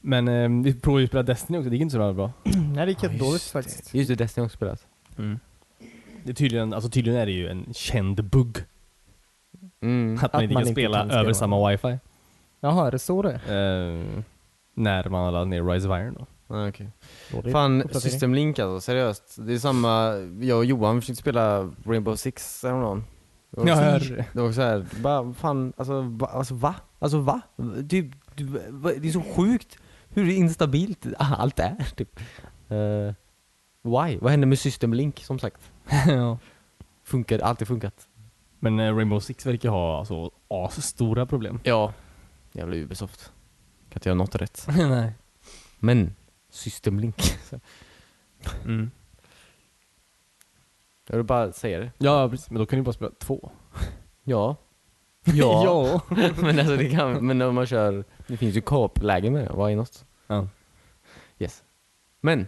[SPEAKER 3] Men eh, vi provade ju att spela Destiny också, det gick inte så jävla bra.
[SPEAKER 2] Nej, det gick
[SPEAKER 1] Ja,
[SPEAKER 2] helt dåligt
[SPEAKER 1] just
[SPEAKER 2] faktiskt.
[SPEAKER 1] Just det, Destiny har jag också spelat.
[SPEAKER 3] Mm. Det är tydligen, alltså tydligen är det ju en känd bugg.
[SPEAKER 1] *laughs* Mm.
[SPEAKER 3] Att man inte kan spela över samma wifi.
[SPEAKER 2] Jaha, är det så det är?
[SPEAKER 3] Eh, när man har laddat ner Rise of Iron då.
[SPEAKER 1] Ja, okej.
[SPEAKER 2] Dålig
[SPEAKER 1] Fan,
[SPEAKER 2] uppdatering.
[SPEAKER 1] System Link alltså, seriöst. Det är samma, jag och Johan försökte spela Rainbow Six häromdagen. Det var
[SPEAKER 3] Ja,
[SPEAKER 1] så-
[SPEAKER 3] jag hörde det.
[SPEAKER 1] Det var så här, bara fan, alltså va? Alltså va? Alltså, va? Typ, du, va? Det är så sjukt hur instabilt allt är *laughs* typ. Eh, why? Vad hände med System Link som sagt?
[SPEAKER 3] *laughs* ja.
[SPEAKER 1] Funkar, alltid funkat.
[SPEAKER 3] Men eh, Rainbow Six verkar ha alltså, as-stora problem.
[SPEAKER 1] Ja. Jävla Ubisoft. Kan inte göra något rätt.
[SPEAKER 3] *laughs* Nej.
[SPEAKER 1] Men, System Link. *laughs*
[SPEAKER 3] Mm.
[SPEAKER 1] Jag vill bara säga det.
[SPEAKER 3] Ja, precis. Men då kan du bara spela *laughs* två.
[SPEAKER 1] *laughs* Ja. *laughs* men alltså det kan, men om man kör, det finns ju co-op-läge med det, why not?
[SPEAKER 3] ja.
[SPEAKER 1] Yes. Men.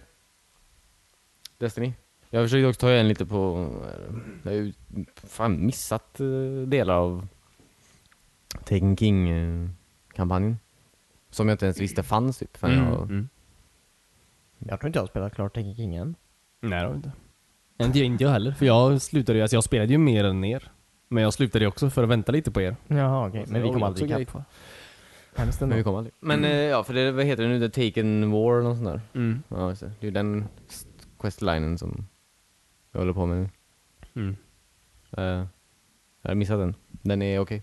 [SPEAKER 1] Destiny. Jag försökte också ta igen lite på, eh, jag har ju fan missat eh, delar av Taken King-kampanjen. Som jag inte ens visste fanns typ. Fan,
[SPEAKER 3] Mm.
[SPEAKER 1] jag,
[SPEAKER 3] Mm.
[SPEAKER 2] Jag tror inte jag har spelat klart Taken King än.
[SPEAKER 3] Nej, det har du inte. Inte jag, inte jag heller. För jag slutade ju, alltså jag spelade ju mer än er. Men jag slutade ju också för att vänta lite på er.
[SPEAKER 2] Jaha, okej. Men vi
[SPEAKER 3] Jag
[SPEAKER 2] kom
[SPEAKER 3] också
[SPEAKER 2] aldrig
[SPEAKER 3] grej
[SPEAKER 2] ikapp.
[SPEAKER 3] på.
[SPEAKER 2] Hemskt
[SPEAKER 1] men vi
[SPEAKER 2] ändå.
[SPEAKER 1] kom aldrig. Men eh, ja, för det, vad heter det nu? The Taken War eller något sånt där.
[SPEAKER 3] Mm.
[SPEAKER 1] Ja, just det. Det är ju den st- questlinen som jag håller på med nu.
[SPEAKER 3] Mm.
[SPEAKER 1] Eh, jag har missat den. Den är okej.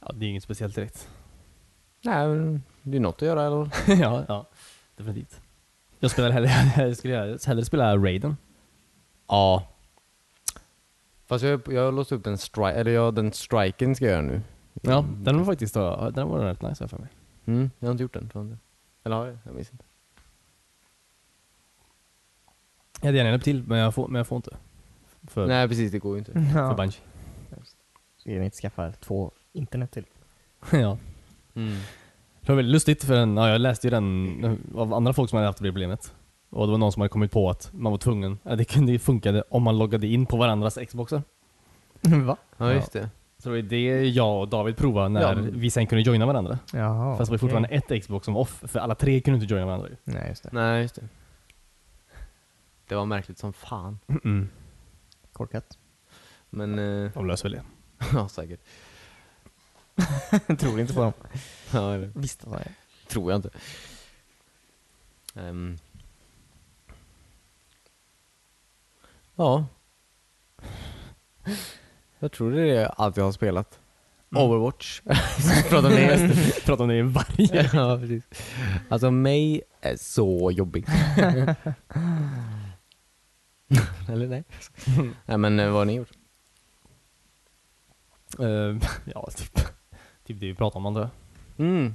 [SPEAKER 3] Ja, det är inget speciellt direkt.
[SPEAKER 1] Nej, men det är något att göra eller?
[SPEAKER 3] *laughs* ja, ja, definitivt. Jag spelar hellre, *laughs* jag skulle hellre spela Raiden.
[SPEAKER 1] Ja. Fast jag, jag har låst upp den strike, eller jag, den striken ska jag göra nu.
[SPEAKER 3] Ja, den var faktiskt ja, den var rätt nice för mig.
[SPEAKER 1] Mm, jag har inte gjort den. Tror jag inte. Eller har jag? Jag minns inte.
[SPEAKER 3] Jag hade gärna hjälpt till, men jag får, men jag får inte. För,
[SPEAKER 1] Nej precis, det går ju inte.
[SPEAKER 3] för
[SPEAKER 2] *laughs* Ja.
[SPEAKER 3] Bungie. *laughs*
[SPEAKER 2] Ska vi inte skaffa två internet till?
[SPEAKER 3] ja. Det var väldigt lustigt, för den, ja, jag läste ju den eh, av andra folk som hade haft det problemet. Och det var någon som hade kommit på att man var tvungen, ja, det kunde ju funka om man loggade in på varandras Xboxar.
[SPEAKER 2] *laughs* Va?
[SPEAKER 1] Ja just det.
[SPEAKER 3] Så det var ju det jag och David provade när
[SPEAKER 1] Ja.
[SPEAKER 3] vi sen kunde joina varandra.
[SPEAKER 2] Jaha.
[SPEAKER 3] Fast det
[SPEAKER 2] okej.
[SPEAKER 3] var fortfarande ett Xbox som var off, för alla tre kunde inte joina varandra ju.
[SPEAKER 2] Nej, just det.
[SPEAKER 1] Nej just det. Det var märkligt som fan.
[SPEAKER 3] Mm.
[SPEAKER 2] *laughs* Korkat.
[SPEAKER 1] Men, eh, *laughs*
[SPEAKER 3] De löser väl det.
[SPEAKER 1] ja säkert.
[SPEAKER 2] tror inte på dem.
[SPEAKER 1] Ja, eller,
[SPEAKER 2] Visst sa jag.
[SPEAKER 1] tror jag inte. Ehm. Ja. Jag tror det är allt jag har spelat. Mm. Overwatch. *laughs* Prata om det.
[SPEAKER 3] *laughs* Prata om det i varje...
[SPEAKER 1] *laughs* ja, precis. Alltså mig är så jobbig. *laughs* Eller nej? nej men eh, vad har ni gjort?
[SPEAKER 3] Eh, ja, typ. Typ det vi pratar om antar jag.
[SPEAKER 1] Mm.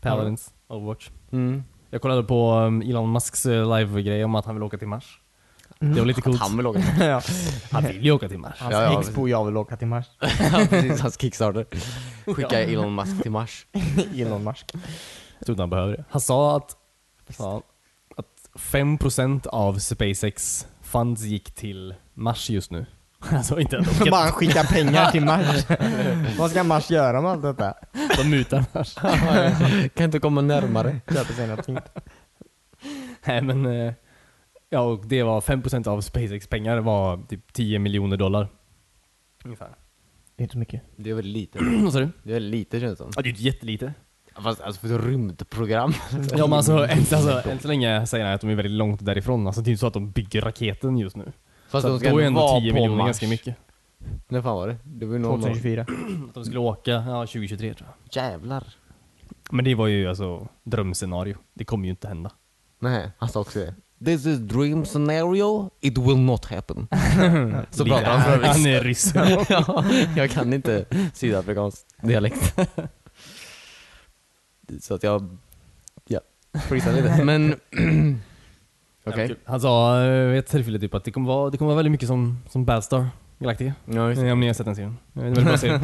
[SPEAKER 3] Paladins, Overwatch.
[SPEAKER 1] Mm.
[SPEAKER 3] Jag kollade på um, Elon Musks eh, live-grej om att han vill åka till Mars. Det var lite
[SPEAKER 1] Mm.
[SPEAKER 3] coolt.
[SPEAKER 1] Han *laughs* vill åka.
[SPEAKER 2] ja.
[SPEAKER 3] Han vill ju åka till
[SPEAKER 2] *laughs*
[SPEAKER 3] Mars.
[SPEAKER 2] Hans
[SPEAKER 1] Ja, ja,
[SPEAKER 2] expo jag vill åka till *laughs* Mars.
[SPEAKER 1] ja, precis, hans *laughs* Kickstarter. Skicka Elon Musk till Mars.
[SPEAKER 2] Elon Musk.
[SPEAKER 3] Jag tror inte han behöver det. Han sa att, sa han, att 5% av SpaceX funds gick till Mars just nu. *laughs* Alltså inte att
[SPEAKER 2] *laughs*
[SPEAKER 3] de,
[SPEAKER 2] Bara skicka pengar till Mars. *laughs* Vad ska Mars göra med allt detta?
[SPEAKER 3] de mutar *laughs* Mars.
[SPEAKER 1] *laughs* kan inte komma närmare.
[SPEAKER 2] Köpa sig någonting.
[SPEAKER 3] Nej men, eh, ja och det var 5% av SpaceX pengar var typ 10 miljoner dollar. *clears throat* Ungefär.
[SPEAKER 2] Det är inte så mycket.
[SPEAKER 1] Det är väl lite.
[SPEAKER 3] Vad sa du?
[SPEAKER 1] Det är väl lite känns det som.
[SPEAKER 3] Ja det är ju jättelite.
[SPEAKER 1] Fast alltså för ett rymdprogram.
[SPEAKER 3] Ja men alltså, än, alltså, än så länge säger han att de är väldigt långt därifrån. Alltså det är ju så att de bygger raketen just nu.
[SPEAKER 1] Fast
[SPEAKER 3] Så
[SPEAKER 1] de
[SPEAKER 3] att
[SPEAKER 1] ska
[SPEAKER 3] då är ändå
[SPEAKER 1] vara
[SPEAKER 3] 10
[SPEAKER 1] på
[SPEAKER 3] miljoner
[SPEAKER 1] Mars.
[SPEAKER 3] ganska mycket.
[SPEAKER 1] När fan var det? Det var ju någon år.
[SPEAKER 2] 2024.
[SPEAKER 3] Att de skulle åka ja, 2023 tror jag.
[SPEAKER 1] Jävlar.
[SPEAKER 3] Men det var ju alltså drömscenario. Det kommer ju inte hända.
[SPEAKER 1] Nej, han sa också det. This is dream scenario, it will not happen. Så pratar han för övrigt.
[SPEAKER 3] *laughs* Han är ryss.
[SPEAKER 1] *laughs* ja, jag kan inte sydafrikansk dialekt. Så att jag, ja, freezar lite. Men, okej.
[SPEAKER 3] Han sa eh, vid ett tillfälle typ att det kommer vara, det kommer vara väldigt mycket som, som Battlestar Galactica.
[SPEAKER 1] Ja, just det.
[SPEAKER 3] Om ni har sett den serien. *laughs* Det är en väldigt bra serie.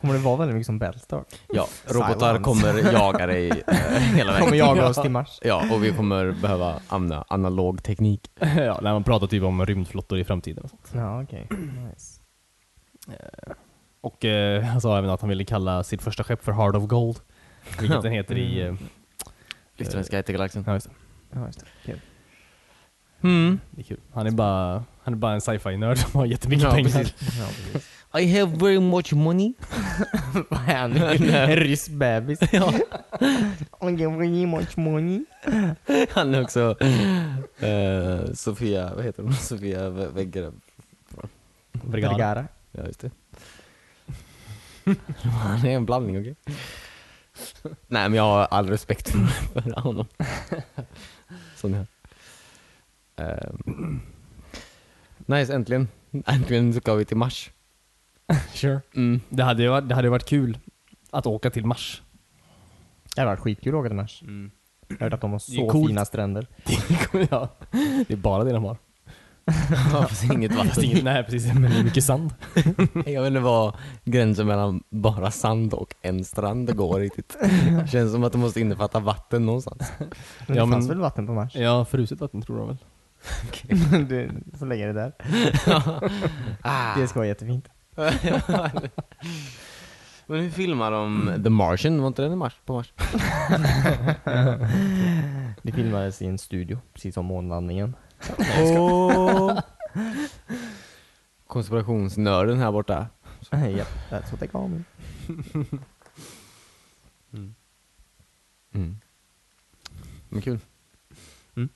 [SPEAKER 2] Kommer det vara väldigt mycket som Battlestar?
[SPEAKER 1] ja, robotar
[SPEAKER 2] Silence.
[SPEAKER 1] kommer jaga dig eh, hela vägen.
[SPEAKER 2] Kommer jaga oss till Mars?
[SPEAKER 1] Ja, och vi kommer behöva använda analog teknik.
[SPEAKER 3] ja, när man pratar typ om rymdflottor i framtiden och sånt.
[SPEAKER 2] Ja, okej. Nice.
[SPEAKER 3] Och eh, han sa även att han ville kalla sitt första skepp för Heart of Gold. Vilket den heter i... Eh,
[SPEAKER 1] Lyfter till galaxen.
[SPEAKER 3] ja, just det.
[SPEAKER 2] Ja, just det. Kul.
[SPEAKER 1] Mm.
[SPEAKER 3] det är kul. Han är bara, han är bara en sci-fi-nörd som har jättemycket
[SPEAKER 1] Ja,
[SPEAKER 3] pengar.
[SPEAKER 1] precis.
[SPEAKER 3] *laughs*
[SPEAKER 2] Ja, precis.
[SPEAKER 1] I have very much *laughs* money.
[SPEAKER 2] Vad
[SPEAKER 1] *laughs*
[SPEAKER 2] är han? En rysk bebis? *laughs*
[SPEAKER 1] Ja. Han är också eh, Sofia, vad heter hon? Sofia Ve- Vergara.
[SPEAKER 3] Vergara.
[SPEAKER 2] Vergara.
[SPEAKER 1] Ja, *laughs* just det. Han är en blandning, okej? Nej, men jag har all respekt för för honom. Som jag. Ehm. Nice, äntligen. Äntligen ska vi till Mars.
[SPEAKER 3] Sure.
[SPEAKER 1] Mm.
[SPEAKER 3] Det hade ju varit, det hade ju varit kul att åka till Mars.
[SPEAKER 2] Det hade varit skitkul att åka till Mars. Jag har hört att de har
[SPEAKER 3] Det är
[SPEAKER 2] så
[SPEAKER 3] coolt.
[SPEAKER 2] fina stränder.
[SPEAKER 3] *laughs* ja. Det är bara det de har.
[SPEAKER 1] *laughs* Ja, fast inget *laughs*
[SPEAKER 3] Fast
[SPEAKER 1] vatten.
[SPEAKER 3] inget, nej precis, men det är mycket sand.
[SPEAKER 1] Jag vet inte vad gränsen mellan bara sand och en strand går *laughs* riktigt. Känns som att det måste innefatta vatten *laughs* någonstans.
[SPEAKER 2] Men det
[SPEAKER 3] Ja, men-
[SPEAKER 2] fanns väl vatten på *laughs* Mars?
[SPEAKER 3] Ja, fruset vatten tror de väl.
[SPEAKER 2] du, så länge det där.
[SPEAKER 1] *laughs* Ah.
[SPEAKER 2] Det ska vara jättefint.
[SPEAKER 1] *laughs* Men hur filmar de Mm. The Martian? Var inte den i Mars? På Mars?
[SPEAKER 2] Det filmades i en studio, precis som *laughs* månlandningen.
[SPEAKER 1] Oh. *laughs* Konspirationsnörden här borta.
[SPEAKER 2] Japp, that's what they call me.
[SPEAKER 1] Mm. Men kul.
[SPEAKER 3] Mm.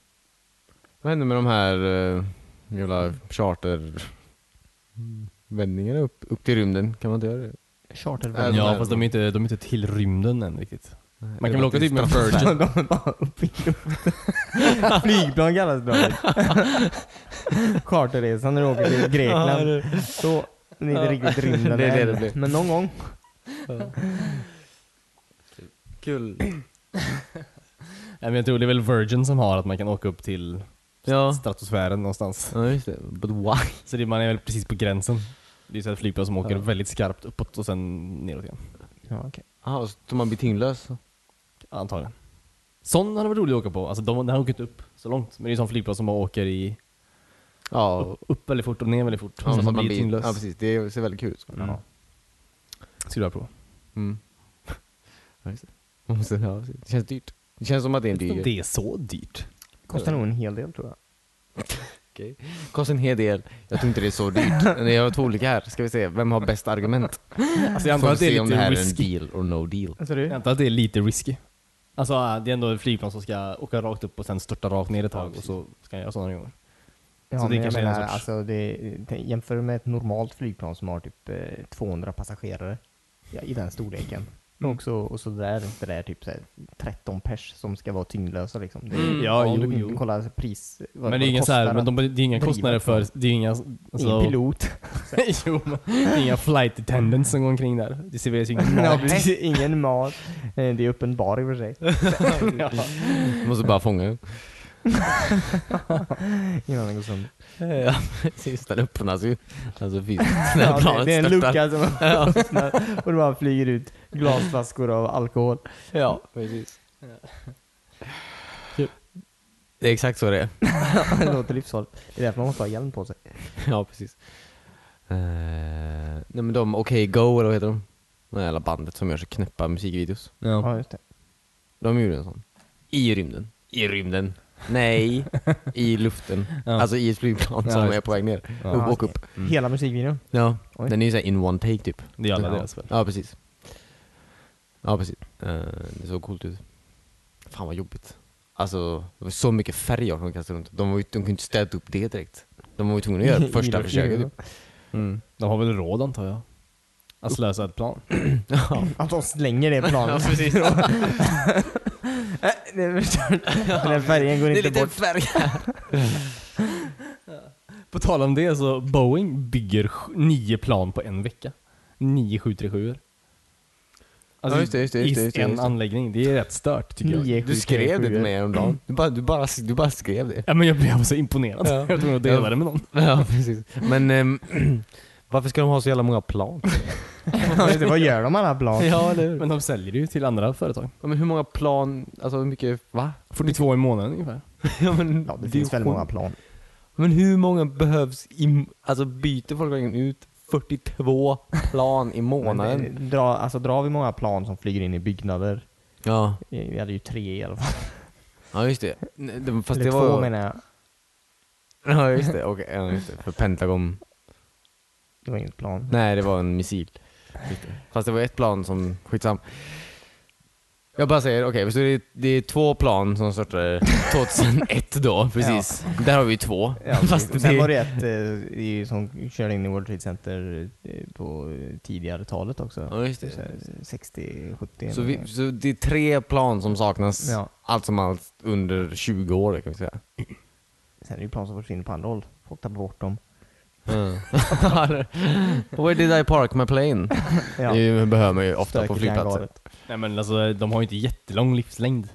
[SPEAKER 1] Vad hände med de här uh, jävla chartervändningarna upp, upp till rymden? Kan man inte göra det?
[SPEAKER 2] Chartervagn.
[SPEAKER 1] Alltså,
[SPEAKER 3] Ja,
[SPEAKER 1] nej.
[SPEAKER 3] fast de är, inte, de är inte till rymden än riktigt. Man
[SPEAKER 1] Eller
[SPEAKER 3] kan väl åka
[SPEAKER 1] till
[SPEAKER 3] dit med
[SPEAKER 1] *laughs*
[SPEAKER 3] Virgin?
[SPEAKER 2] De är bara uppe i
[SPEAKER 3] *laughs*
[SPEAKER 2] luften. Flygplan kallas det Charterresan när du åker till Grekland. Så, det är inte riktigt rymden
[SPEAKER 1] Det är det
[SPEAKER 2] än.
[SPEAKER 1] det blir.
[SPEAKER 2] Men någon gång.
[SPEAKER 1] Kul.
[SPEAKER 3] Nej, men jag tror det är väl Virgin som har att man kan åka upp till
[SPEAKER 1] Ja.
[SPEAKER 3] stratosfären någonstans.
[SPEAKER 1] Ja just det, but why?
[SPEAKER 3] Så det, man är väl precis på gränsen. Det är så här ett flygplan som åker väldigt skarpt uppåt och sen neråt igen.
[SPEAKER 2] Ja, okej.
[SPEAKER 1] Jaha, så man blir tyngdlös?
[SPEAKER 3] Antagligen. Sån hade varit rolig att åka på. Alltså de, den här åker inte upp så långt. Men det är en sån flygplan som bara åker i,
[SPEAKER 1] Ja,
[SPEAKER 3] upp, upp väldigt fort och ner väldigt fort.
[SPEAKER 1] ja,
[SPEAKER 3] så
[SPEAKER 1] så
[SPEAKER 3] man blir tyngdlös.
[SPEAKER 1] ja precis, det ser väldigt kul ut.
[SPEAKER 3] Mm. Skulle jag prova.
[SPEAKER 1] Mm. *laughs* Ja, just det. Man måste, ja, precis. det känns dyrt. Det känns som att det är en dyr grej.
[SPEAKER 3] Det är så dyrt.
[SPEAKER 2] Kostar nog en hel del tror jag.
[SPEAKER 1] Okej. Kostar en hel del, jag tror inte det är så *laughs* dyrt. Men Jag har två olika här, ska vi se, vem har bäst argument?
[SPEAKER 3] Alltså jag
[SPEAKER 1] Får
[SPEAKER 3] antar
[SPEAKER 1] vi se
[SPEAKER 3] att *laughs* det är
[SPEAKER 1] om det
[SPEAKER 3] lite
[SPEAKER 1] här
[SPEAKER 3] risky.
[SPEAKER 1] är en deal or no deal.
[SPEAKER 2] Alltså
[SPEAKER 3] Jag
[SPEAKER 2] du?
[SPEAKER 3] antar att det är lite risky. Alltså äh, det är ändå ett flygplan som ska åka rakt upp och sen störta rakt ner ett tag och så ska jag göra sådana gånger.
[SPEAKER 2] Ja,
[SPEAKER 3] Så det
[SPEAKER 2] men jag
[SPEAKER 3] kanske är en
[SPEAKER 2] menar,
[SPEAKER 3] sorts-
[SPEAKER 2] alltså det, tänk- jämför med ett normalt flygplan som har typ eh, 200 passagerare ja, i den storleken.
[SPEAKER 3] Mm.
[SPEAKER 2] Och, så, och så där, det där är typ så här, 13 pers som ska vara tyngdlösa liksom. Det,
[SPEAKER 3] Mm. Ja,
[SPEAKER 2] om
[SPEAKER 3] jo,
[SPEAKER 2] du
[SPEAKER 3] jo.
[SPEAKER 2] Kolla pris. vad-
[SPEAKER 3] Men
[SPEAKER 2] vad
[SPEAKER 3] det är ingen så här,
[SPEAKER 2] kostar
[SPEAKER 3] men de, det är inga
[SPEAKER 2] driva
[SPEAKER 3] kostnader för, det är inga...
[SPEAKER 2] att-
[SPEAKER 3] Alltså,
[SPEAKER 2] Ingen pilot.
[SPEAKER 3] *laughs* jo, men det är inga flight attendants som går omkring där. Det serveras ju
[SPEAKER 1] *laughs*
[SPEAKER 3] ingen
[SPEAKER 2] Ja,
[SPEAKER 3] mat.
[SPEAKER 2] precis. ingen mat. Eh, Det är öppen bar i och för
[SPEAKER 1] *laughs*
[SPEAKER 2] sig.
[SPEAKER 1] Du måste bara fånga
[SPEAKER 3] *laughs*
[SPEAKER 1] den.
[SPEAKER 2] *laughs* Innan den går sönder.
[SPEAKER 1] Ja precis, den öppnas ju. Alltså fysiskt.
[SPEAKER 2] Ja,
[SPEAKER 1] *laughs* När
[SPEAKER 2] det-
[SPEAKER 1] planet
[SPEAKER 2] det är en
[SPEAKER 1] störtar.
[SPEAKER 2] lucka *laughs* som öppnar och det bara flyger ut glasflaskor av
[SPEAKER 1] *laughs*
[SPEAKER 2] alkohol.
[SPEAKER 1] Ja, precis. Det är exakt så det är.
[SPEAKER 2] Det låter livsfarligt. Det är därför man måste ha hjälm på sig.
[SPEAKER 1] *laughs* Ja, precis. Eh, nej men de OK Go, eller vad heter de? Det jävla bandet som gör så knäppa musikvideos.
[SPEAKER 2] Ja,
[SPEAKER 3] Ja.
[SPEAKER 2] just det.
[SPEAKER 1] De gjorde en sån. I rymden. I rymden. *laughs* Nej, i luften.
[SPEAKER 3] Ja.
[SPEAKER 1] Alltså i ett flygplan
[SPEAKER 3] Ja,
[SPEAKER 1] som
[SPEAKER 3] just
[SPEAKER 1] är på väg ner.
[SPEAKER 3] Ja.
[SPEAKER 1] Upp och upp.
[SPEAKER 2] Hela musikvideon.
[SPEAKER 1] Ja,
[SPEAKER 2] Oj.
[SPEAKER 1] den är ju såhär in one take typ.
[SPEAKER 3] Det är alla
[SPEAKER 1] ja.
[SPEAKER 3] deras väl.
[SPEAKER 1] Ja, precis. Ja, precis. Eh, det såg coolt ut. Fan vad jobbigt. Alltså, det var så *laughs* mycket färger som de kastade runt. De, var ju, de kunde inte städa upp det direkt. De var ju tvungna att göra
[SPEAKER 2] I
[SPEAKER 1] första
[SPEAKER 2] luften.
[SPEAKER 1] försöket. Typ. Mm.
[SPEAKER 3] De har väl råd antar jag? Att slösa ett plan?
[SPEAKER 1] Ja.
[SPEAKER 2] Att de slänger det
[SPEAKER 1] *laughs*
[SPEAKER 2] planet.
[SPEAKER 1] precis.
[SPEAKER 2] Äh, det förstör. Den här färgen går
[SPEAKER 1] det är
[SPEAKER 2] inte
[SPEAKER 1] lite
[SPEAKER 2] bort.
[SPEAKER 1] färg här.
[SPEAKER 3] På tal om det så Boeing bygger sj- nio plan på en vecka. Nio 737
[SPEAKER 1] Ja, just det, just det, just det, just det,
[SPEAKER 3] Alltså, i en
[SPEAKER 1] just det.
[SPEAKER 3] anläggning. Det är rätt stört tycker jag.
[SPEAKER 2] Nio,
[SPEAKER 1] Du
[SPEAKER 2] sju,
[SPEAKER 1] skrev
[SPEAKER 2] tre,
[SPEAKER 1] det till
[SPEAKER 2] sjuor.
[SPEAKER 1] mig häromdagen. Du bara, du, bara, du bara skrev det.
[SPEAKER 3] Ja, men jag blev så imponerad.
[SPEAKER 1] Ja.
[SPEAKER 3] *laughs* Jag var tvungen att dela det med någon.
[SPEAKER 1] *laughs* Ja, precis. Men ehm, *clears throat* varför ska de ha så jävla många plan?
[SPEAKER 2] Ja, just det. Vad gör de med alla
[SPEAKER 1] *laughs*
[SPEAKER 2] plan?
[SPEAKER 1] ja, eller hur?
[SPEAKER 3] Men de säljer det ju till andra företag.
[SPEAKER 1] Ja, men hur många plan, alltså hur mycket, va? *laughs*
[SPEAKER 3] 42 i månaden ungefär.
[SPEAKER 1] Ja, men,
[SPEAKER 2] Ja, det
[SPEAKER 1] är
[SPEAKER 2] finns väldigt
[SPEAKER 1] sjukt.
[SPEAKER 2] många plan.
[SPEAKER 1] Men hur många behövs, i, alltså byter folk verkligen ut 42 plan i månaden?
[SPEAKER 2] Men, eh, Dra, alltså drar vi många plan som flyger in i byggnader.
[SPEAKER 1] Ja,
[SPEAKER 2] Eh, Vi hade ju tre i alla fall.
[SPEAKER 1] ja just det. Nej, det- Fast
[SPEAKER 2] Eller
[SPEAKER 1] det
[SPEAKER 2] två
[SPEAKER 1] var
[SPEAKER 2] menar jag.
[SPEAKER 1] Ja just det, okej, ja, just det. För Pentagon.
[SPEAKER 2] Det var inget plan.
[SPEAKER 1] Nej det var en missil. Just det. Fast det var ett plan som, skitsam. Jag bara säger, okej, så det är, det är två plan som störtade 2001 då, precis. Där har vi ju två. *laughs*
[SPEAKER 2] Ja,
[SPEAKER 1] Fast
[SPEAKER 2] sen
[SPEAKER 1] det-
[SPEAKER 2] var det ett eh, i- som körde in i World Trade Center eh, på eh, tidigare talet också.
[SPEAKER 1] Ja, just
[SPEAKER 2] Så
[SPEAKER 1] det.
[SPEAKER 2] här, 60, 70
[SPEAKER 1] Så,
[SPEAKER 2] eller
[SPEAKER 1] vi,
[SPEAKER 2] någonting.
[SPEAKER 1] så det är tre plan som saknas,
[SPEAKER 2] Ja.
[SPEAKER 1] allt som allt, under 20 år kan vi säga.
[SPEAKER 2] Sen är det ju plan som försvinner på andra håll. Folk tappar bort dem.
[SPEAKER 1] *laughs* Where did I park my plane?
[SPEAKER 2] Ja.
[SPEAKER 1] Det behöver man ju ofta
[SPEAKER 2] Stökigt
[SPEAKER 1] på
[SPEAKER 2] i
[SPEAKER 1] flygplatser.
[SPEAKER 2] hangaret.
[SPEAKER 3] Nej men alltså de har ju inte jättelång livslängd.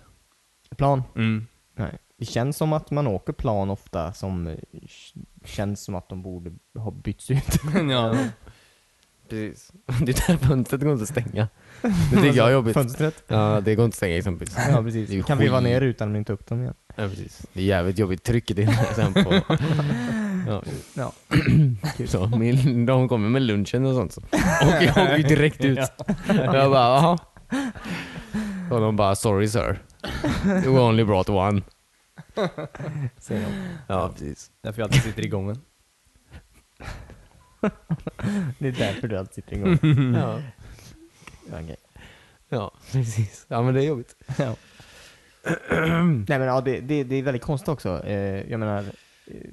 [SPEAKER 2] Plan?
[SPEAKER 1] Mm.
[SPEAKER 2] Nej. Det känns som att man åker plan ofta som eh, k- känns som att de borde ha bytts ut.
[SPEAKER 3] *laughs* ja.
[SPEAKER 1] Precis. *laughs* Det är där fönstret går inte att stänga.
[SPEAKER 2] *laughs*
[SPEAKER 1] Det tycker jag är jobbigt.
[SPEAKER 2] Fönstret.
[SPEAKER 1] *laughs* Ja, det går inte att stänga i exempelvis.
[SPEAKER 2] Ja
[SPEAKER 1] Det är ju
[SPEAKER 2] precis. Kan vi vara
[SPEAKER 1] skit.
[SPEAKER 2] ner utan men inte upp dem igen.
[SPEAKER 1] Ja, precis. Det är jävligt jobbigt trycket
[SPEAKER 2] *laughs*
[SPEAKER 1] inne sen på... Ja.
[SPEAKER 2] Ja.
[SPEAKER 1] *clears throat* Så, min, de kommer med lunchen och sånt.
[SPEAKER 2] *laughs*
[SPEAKER 1] Så. Och jag åker ju direkt ut. Jag bara, jaha. Och de bara, sorry sir. You only brought one.
[SPEAKER 2] Säger de.
[SPEAKER 1] Ja, precis.
[SPEAKER 3] Därför jag alltid sitter i gången.
[SPEAKER 2] Det är därför du alltid sitter
[SPEAKER 1] *laughs*
[SPEAKER 2] igång.
[SPEAKER 1] Ja.
[SPEAKER 2] Ja, okej.
[SPEAKER 1] Mm. ja, precis. Ja, men det är jobbigt.
[SPEAKER 2] Ja. Nej men ja, det, det, det är väldigt konstigt också. Eh, jag menar, eh,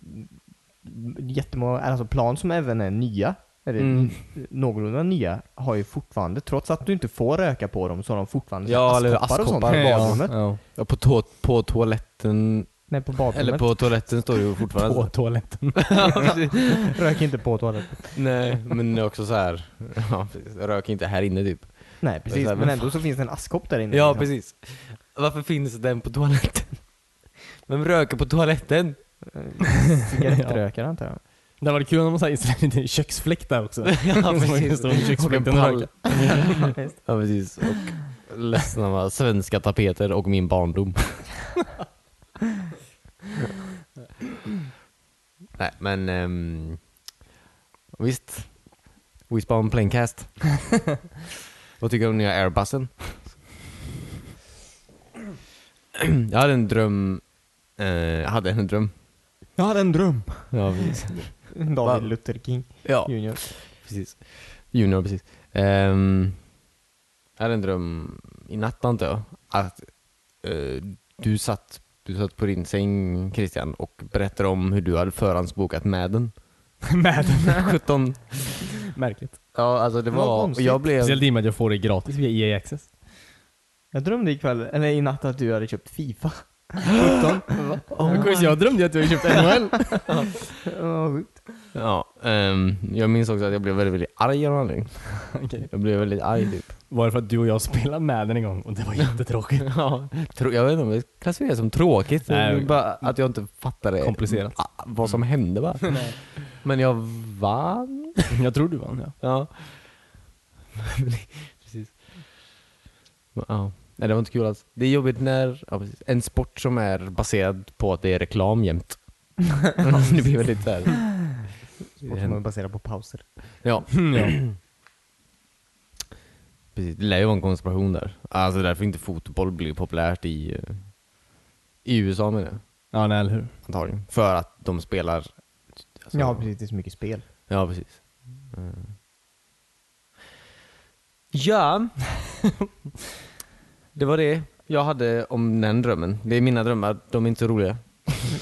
[SPEAKER 2] jättemånga, alltså plan som även är nya, eller
[SPEAKER 1] Mm.
[SPEAKER 2] n- någorlunda nya, har ju fortfarande, trots att du inte får röka på dem, så har de fortfarande
[SPEAKER 1] Ja,
[SPEAKER 2] så här
[SPEAKER 1] eller
[SPEAKER 2] askkoppar och sånt
[SPEAKER 1] askkoppar.
[SPEAKER 2] på
[SPEAKER 1] Ja.
[SPEAKER 2] badrummet.
[SPEAKER 3] Ja.
[SPEAKER 1] Ja, på, to- på toaletten,
[SPEAKER 2] Nej, på badrummet.
[SPEAKER 1] eller på toaletten står det ju fortfarande.
[SPEAKER 3] På toaletten.
[SPEAKER 2] Rök inte på toaletten.
[SPEAKER 1] Nej, men det är också så här. Ja, precis. rök inte här inne typ.
[SPEAKER 2] Nej precis,
[SPEAKER 1] så här,
[SPEAKER 2] men
[SPEAKER 1] men
[SPEAKER 2] ändå så finns det en askkopp där inne.
[SPEAKER 1] Ja,
[SPEAKER 2] liksom.
[SPEAKER 1] precis. Varför finns den på toaletten? Vem röker på toaletten?
[SPEAKER 2] Cigarettrökare antar jag.
[SPEAKER 3] Det hade varit kul om de så här installerade en liten köksfläkt där också.
[SPEAKER 1] *laughs*
[SPEAKER 3] *laughs*
[SPEAKER 1] Ja,
[SPEAKER 3] Så man kan stå vid köksfläkten och röka.
[SPEAKER 2] *laughs*
[SPEAKER 1] Ja, precis. Och ledsna svenska tapeter och min barndom. *laughs* Nej, men ehm, visst. Wispan *laughs* Plaincast. Vad tycker du om nya Airbusen? *clears throat* Jag hade en dröm. Eh, jag hade en dröm.
[SPEAKER 2] Jag hade en
[SPEAKER 3] *laughs*
[SPEAKER 2] dröm.
[SPEAKER 1] Ja, precis. Va?
[SPEAKER 2] David Luther King
[SPEAKER 1] Ja,
[SPEAKER 2] Junior.
[SPEAKER 1] precis. Junior, precis. Ehm, jag hade en dröm i natt antar jag. Att eh, du, satt, du satt på din säng Christian och berättade om hur du hade förhandsbokat Madden.
[SPEAKER 3] *laughs*
[SPEAKER 1] Madden? 17.
[SPEAKER 3] Märkligt.
[SPEAKER 1] Ja, alltså det
[SPEAKER 2] Vad
[SPEAKER 1] var... och
[SPEAKER 2] konstigt.
[SPEAKER 1] jag blev...
[SPEAKER 3] Speciellt i och med att jag får det gratis via EA Access.
[SPEAKER 2] Jag drömde ikväll, eller i natt att du hade köpt Fifa.
[SPEAKER 1] *laughs*
[SPEAKER 2] *laughs*
[SPEAKER 3] Of course, jag drömde ju att jag
[SPEAKER 1] *laughs*
[SPEAKER 3] köpte NHL.
[SPEAKER 2] Vad sjukt.
[SPEAKER 1] Ja, ehm, jag minns också att jag blev väldigt, väldigt arg av någon anledning.
[SPEAKER 3] *laughs* Okej.
[SPEAKER 1] Jag blev väldigt arg typ.
[SPEAKER 3] Var det för att du och jag spelade med den en gång och det var jättetråkigt?
[SPEAKER 1] *laughs* Ja, tro, jag vet inte om det klassificeras som tråkigt.
[SPEAKER 3] Nej,
[SPEAKER 1] det är bara att jag inte fattade
[SPEAKER 3] Komplicerat. Mm.
[SPEAKER 1] a- vad som hände
[SPEAKER 3] *laughs*
[SPEAKER 1] bara. Men jag vann.
[SPEAKER 3] *laughs* Jag tror du vann ja.
[SPEAKER 1] Ja. *laughs* precis. Ja. Nej, det var inte kul alls. Det är jobbigt när, ja, precis. en sport som är baserad på att det är reklam
[SPEAKER 3] *laughs*
[SPEAKER 1] jämt. *laughs* det blir väldigt såhär.
[SPEAKER 2] Sport som är baserad på pauser.
[SPEAKER 1] Ja,
[SPEAKER 3] *clears throat* ja.
[SPEAKER 1] precis. Det lär ju vara en konspiration där. Alltså därför inte fotboll blir populärt i, eh, i USA menar jag.
[SPEAKER 3] Ja, nej, eller hur?
[SPEAKER 1] Antagligen. För att de spelar... alltså-
[SPEAKER 2] Ja precis, det är så mycket spel.
[SPEAKER 1] Ja, precis. Mm. Ja. det var det jag hade om den drömmen. Det är mina drömmar, de är inte så roliga.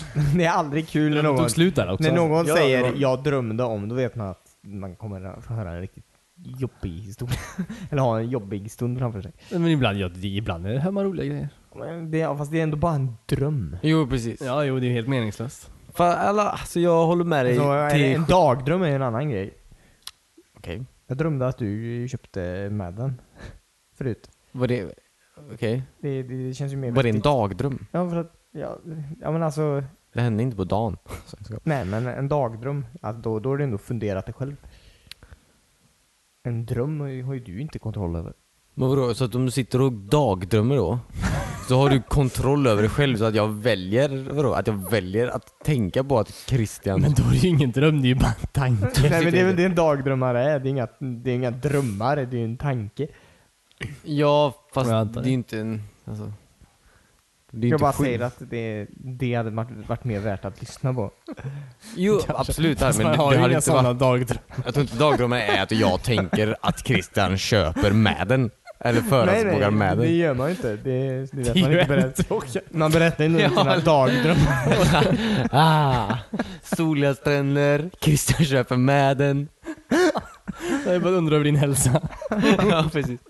[SPEAKER 2] *laughs* Det är aldrig kul när
[SPEAKER 3] Det
[SPEAKER 2] någon,
[SPEAKER 3] tog slut där också.
[SPEAKER 2] när någon
[SPEAKER 1] Ja,
[SPEAKER 2] säger
[SPEAKER 1] det var-
[SPEAKER 2] jag drömde om, då vet man att man kommer att höra en riktigt jobbig historia. *laughs* Eller ha en jobbig stund framför sig.
[SPEAKER 3] Men ibland, ja, det, ibland är det hemma roliga grejer.
[SPEAKER 2] Men det, ja, fast det är ändå bara en dröm.
[SPEAKER 1] Jo, precis.
[SPEAKER 3] Ja, jo, det är helt meningslöst.
[SPEAKER 1] Fan, alla, alltså jag håller med dig.
[SPEAKER 2] Alltså, en,
[SPEAKER 1] till-
[SPEAKER 2] en dagdröm är en annan grej.
[SPEAKER 1] Okej.
[SPEAKER 2] Jag drömde att du köpte Madden *laughs* förut.
[SPEAKER 1] Var det... Okej.
[SPEAKER 2] Det, det, det känns ju mer
[SPEAKER 1] Var det en
[SPEAKER 2] vettigt.
[SPEAKER 1] dagdröm?
[SPEAKER 2] Ja, för att, ja, ja men alltså,
[SPEAKER 1] Det hände inte på dagen.
[SPEAKER 2] nej men en dagdröm, alltså, då, då har du ändå funderat dig själv. En dröm har ju, har ju du inte kontroll över.
[SPEAKER 1] Men vadå, så att om du sitter och dagdrömmer då? Så har du kontroll över dig själv så att jag väljer, vadå, att jag väljer att tänka på att Christian...
[SPEAKER 3] Men då är det ju ingen dröm, det är ju bara en
[SPEAKER 2] Nej
[SPEAKER 3] *laughs* tanke.
[SPEAKER 2] men det är väl det en dagdrömmare är, det är inga, det är inga drömmar, det är ju en tanke.
[SPEAKER 1] ja, fast
[SPEAKER 3] Jag antar
[SPEAKER 1] det är inte en... Alltså, det är
[SPEAKER 2] Jag
[SPEAKER 1] inte
[SPEAKER 2] bara
[SPEAKER 1] skit.
[SPEAKER 2] säger att det, det hade varit, varit mer värt att lyssna på.
[SPEAKER 1] Jo, absolut. här,
[SPEAKER 3] Fast
[SPEAKER 1] Men
[SPEAKER 3] man
[SPEAKER 1] det,
[SPEAKER 3] har
[SPEAKER 1] det
[SPEAKER 3] ju
[SPEAKER 1] hade
[SPEAKER 3] inga
[SPEAKER 1] inte
[SPEAKER 3] sådana
[SPEAKER 1] varit,
[SPEAKER 3] dagdrömmar.
[SPEAKER 1] jag tror inte dagdrömmar är att jag tänker att Christian köper med den. Eller förhandsbogar med
[SPEAKER 2] det
[SPEAKER 1] den.
[SPEAKER 2] gör man ju inte. Det, det
[SPEAKER 3] Det
[SPEAKER 2] vet man
[SPEAKER 3] är ju
[SPEAKER 2] inte
[SPEAKER 3] en
[SPEAKER 2] berättar.
[SPEAKER 3] tråkig-
[SPEAKER 2] Man
[SPEAKER 1] *laughs*
[SPEAKER 2] berättar ju inte om sina dagdrömmar.
[SPEAKER 1] ah, soliga stränder, Christian köper med den.
[SPEAKER 3] Jag bara undrar över din hälsa.
[SPEAKER 1] *laughs* ja, precis.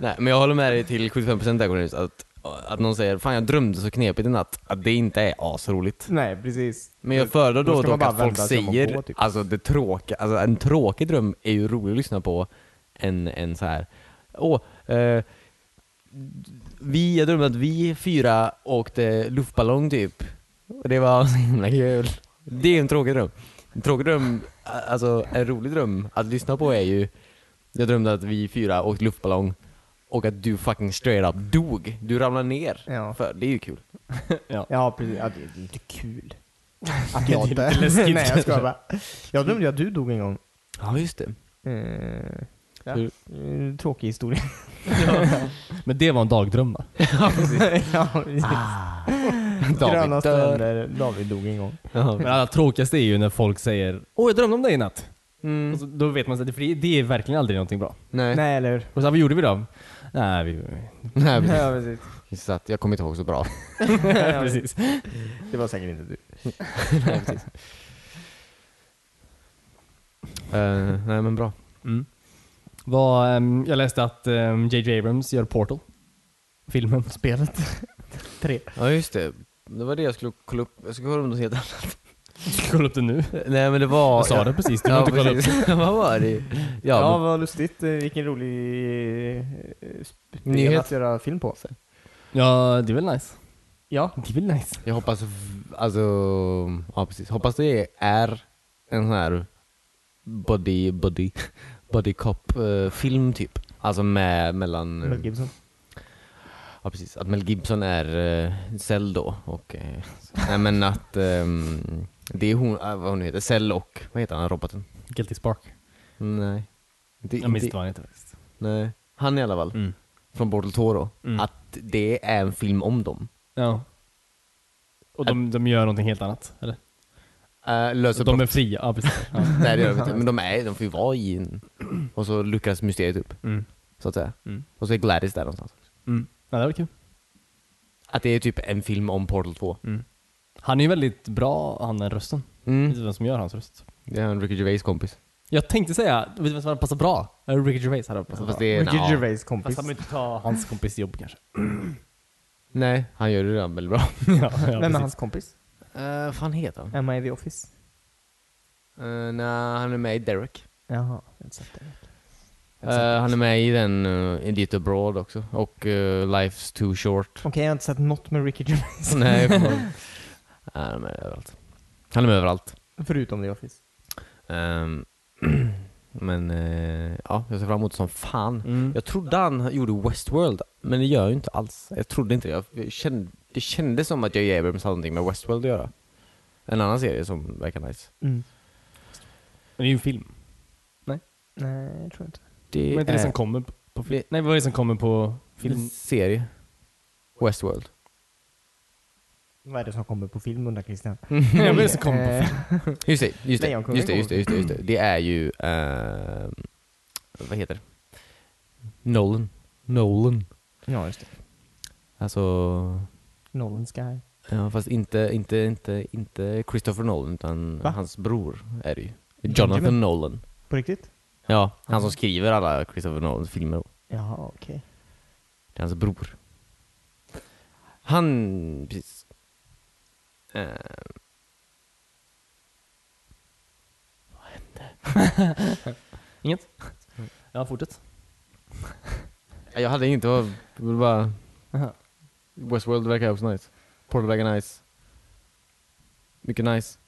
[SPEAKER 1] Nej, men jag håller med dig till 75% där Cornelius, att, att någon säger Fan jag drömde så knepigt i natt, att det inte är asroligt.
[SPEAKER 2] Nej precis.
[SPEAKER 1] Men jag föredrar
[SPEAKER 2] Då
[SPEAKER 1] då,
[SPEAKER 2] ska man
[SPEAKER 1] dock
[SPEAKER 2] bara
[SPEAKER 1] att folk
[SPEAKER 2] vända sig om och
[SPEAKER 1] säger,
[SPEAKER 2] gå, typ.
[SPEAKER 1] alltså det tråkiga, alltså en tråkig dröm är ju rolig att lyssna på än, än så här. Åh, eh, vi, jag drömde att vi fyra åkte luftballong typ. Och det var *laughs* så himla kul. Det är en tråkig dröm. En tråkig dröm, alltså en rolig dröm att lyssna på är ju Jag drömde att vi fyra åkte luftballong och att du fucking straight up dog. Du ramlade ner.
[SPEAKER 2] Ja.
[SPEAKER 1] För, det är ju kul.
[SPEAKER 2] Ja precis, ja, det det är inte kul.
[SPEAKER 1] *laughs*
[SPEAKER 2] Att
[SPEAKER 3] Det
[SPEAKER 2] jag
[SPEAKER 3] är
[SPEAKER 2] inte...
[SPEAKER 3] lite
[SPEAKER 2] *laughs*
[SPEAKER 3] läskigt.
[SPEAKER 2] Nej jag skojar bara. Jag drömde ju att du dog en gång.
[SPEAKER 1] Ja just det.
[SPEAKER 2] Eh, ja.
[SPEAKER 1] Hur-
[SPEAKER 2] Eh, Tråkig historia. *laughs*
[SPEAKER 3] Men det var en dagdröm va?
[SPEAKER 1] Ah,
[SPEAKER 2] ja, precis. Gröna stränder, David dog en gång.
[SPEAKER 1] Ja.
[SPEAKER 3] Men det allra tråkigaste är ju när folk säger Åh jag drömde om dig i natt.
[SPEAKER 1] Mm.
[SPEAKER 3] Och så, då vet man att det, det är verkligen aldrig någonting bra.
[SPEAKER 1] Nej.
[SPEAKER 2] Nej eller hur?
[SPEAKER 3] Och så här, vad gjorde vi då? Nej, vi,
[SPEAKER 1] Nej, *laughs* precis.
[SPEAKER 2] Ja, precis.
[SPEAKER 1] Så att jag kommer inte ihåg så bra.
[SPEAKER 2] *laughs* Ja, precis.
[SPEAKER 3] precis.
[SPEAKER 2] Det var säkert inte du.
[SPEAKER 1] *laughs* Eh, nej men bra.
[SPEAKER 3] Mm. Vad, ehm, jag läste att ehm, JJ Abrams gör Portal. Filmen.
[SPEAKER 2] Spelet. *laughs* Tre.
[SPEAKER 1] Ja just det. Det var det jag skulle kolla upp. Jag skulle kolla upp något helt annat.
[SPEAKER 3] Kolla upp det nu.
[SPEAKER 1] *laughs* Nej men det var...
[SPEAKER 3] Jag sa
[SPEAKER 1] ja,
[SPEAKER 3] det precis, du
[SPEAKER 1] Ja,
[SPEAKER 3] har inte kolla upp.
[SPEAKER 1] precis. *laughs* Vad var det?
[SPEAKER 2] Ja,
[SPEAKER 1] Ja,
[SPEAKER 2] vad lustigt. Eh, Vilken rolig eh, spel
[SPEAKER 1] Nyhet.
[SPEAKER 2] att göra film på.
[SPEAKER 3] Ja, det är väl nice.
[SPEAKER 2] Ja.
[SPEAKER 3] Det är väl nice.
[SPEAKER 1] men jag hoppas... v- Alltså... Ja precis. Hoppas det är en sån här body, body, *laughs* body cop eh, film typ. Alltså med, mellan... eh,
[SPEAKER 2] Mel Gibson.
[SPEAKER 1] Ja precis, att Mel Gibson är uh, Cell då och... eh, *laughs* nej men att... ehm, det är hon, eh, vad hon heter, Cell och... Vad heter han, roboten?
[SPEAKER 3] Guilty Spark.
[SPEAKER 1] Nej. Det,
[SPEAKER 3] Jag minns inte vad han heter faktiskt.
[SPEAKER 1] Nej. Han i alla fall,
[SPEAKER 3] Mm.
[SPEAKER 1] från Bortel Toro.
[SPEAKER 3] Mm.
[SPEAKER 1] Att det är en film om dem.
[SPEAKER 3] Ja. Och de, de gör någonting helt annat, eller?
[SPEAKER 1] Eh, löser
[SPEAKER 3] de
[SPEAKER 1] brott.
[SPEAKER 3] är fria, ja precis. Ja.
[SPEAKER 1] Nej det gör vi inte, men de är de får ju vara i en... Och så lyckas mysteriet upp,
[SPEAKER 3] Mm.
[SPEAKER 1] så att säga.
[SPEAKER 3] Mm.
[SPEAKER 1] Och så är Gladys där någonstans.
[SPEAKER 3] *laughs* Mm. Ja, det var kul.
[SPEAKER 1] Att det är typ en film om Portal 2.
[SPEAKER 3] Han är ju väldigt bra, han den rösten. Vet
[SPEAKER 1] Mm.
[SPEAKER 3] du vem som gör hans röst?
[SPEAKER 1] Det är en Ricky Gervais kompis. jag
[SPEAKER 3] Jag tänkte säga, vet du vem som hade passat bra? Eh, Ricky Gervais hade passat
[SPEAKER 1] Fast
[SPEAKER 3] bra.
[SPEAKER 1] det är...
[SPEAKER 2] Ricky
[SPEAKER 1] nja.
[SPEAKER 2] Gervais kompis.
[SPEAKER 3] Fast han vill inte ta hans kompis jobb kanske.
[SPEAKER 1] Nej, han gör det redan väldigt bra.
[SPEAKER 3] *laughs* ja, ja,
[SPEAKER 2] Vem är
[SPEAKER 3] precis.
[SPEAKER 2] hans kompis?
[SPEAKER 1] Uh, fan heter han?
[SPEAKER 2] Emma i The Office?
[SPEAKER 1] Eh, Nej, han är med i Derek.
[SPEAKER 2] Jaha, jag har inte sett det.
[SPEAKER 1] Eh, han är med i den uh, Idiot Abroad också. Och eh, Life's Too Short.
[SPEAKER 2] Okej, jag har inte sett något med Ricky
[SPEAKER 1] *laughs*
[SPEAKER 2] Gervais.
[SPEAKER 1] Nej, förlåt. Nej, han är med överallt. Han är med överallt.
[SPEAKER 2] *laughs* Förutom The Office.
[SPEAKER 1] Ehm, *clears throat* men eh, ja, jag ser fram emot det som fan.
[SPEAKER 3] Mm.
[SPEAKER 1] Jag trodde han gjorde Westworld, men det gör jag ju inte alls. Jag trodde inte det. Jag kände, det kändes som att jag Abrams hade någonting med Westworld att göra. En annan serie som verkar nice.
[SPEAKER 2] Mm.
[SPEAKER 3] Men det är ju en film.
[SPEAKER 2] Nej, jag tror inte.
[SPEAKER 1] Det
[SPEAKER 3] Men inte det som kommer på, på film. Nej, vad är det som kommer på
[SPEAKER 1] en
[SPEAKER 3] *laughs* film?
[SPEAKER 1] serie. Westworld.
[SPEAKER 2] Vad är det som kommer på film undrar *laughs* Christian?
[SPEAKER 3] Nej, vad är det som kommer på film?
[SPEAKER 2] Eh,
[SPEAKER 1] Just det, just det,
[SPEAKER 2] Lejonkungen
[SPEAKER 1] just det, just det,
[SPEAKER 2] kommer.
[SPEAKER 1] just det, just det. Det är ju, ehm, vad heter det? Nolan. Nolan.
[SPEAKER 2] Ja, just det.
[SPEAKER 1] Alltså,
[SPEAKER 2] Nolan Sky.
[SPEAKER 1] ja, fast inte, inte, inte, inte Christopher Nolan utan
[SPEAKER 2] Va?
[SPEAKER 1] hans bror är det ju. Jonathan Nolan.
[SPEAKER 2] På riktigt?
[SPEAKER 1] Ja, han som skriver alla Christopher Nolans filmer.
[SPEAKER 2] Jaha, okej.
[SPEAKER 1] Det är hans bror. Han, precis. Eh,
[SPEAKER 3] Inget? Ja, fortsätt.
[SPEAKER 1] jag hade inget, det var det var bara...
[SPEAKER 3] Aha.
[SPEAKER 1] Westworld verkar också nice. Portal verkar nice. Mycket nice.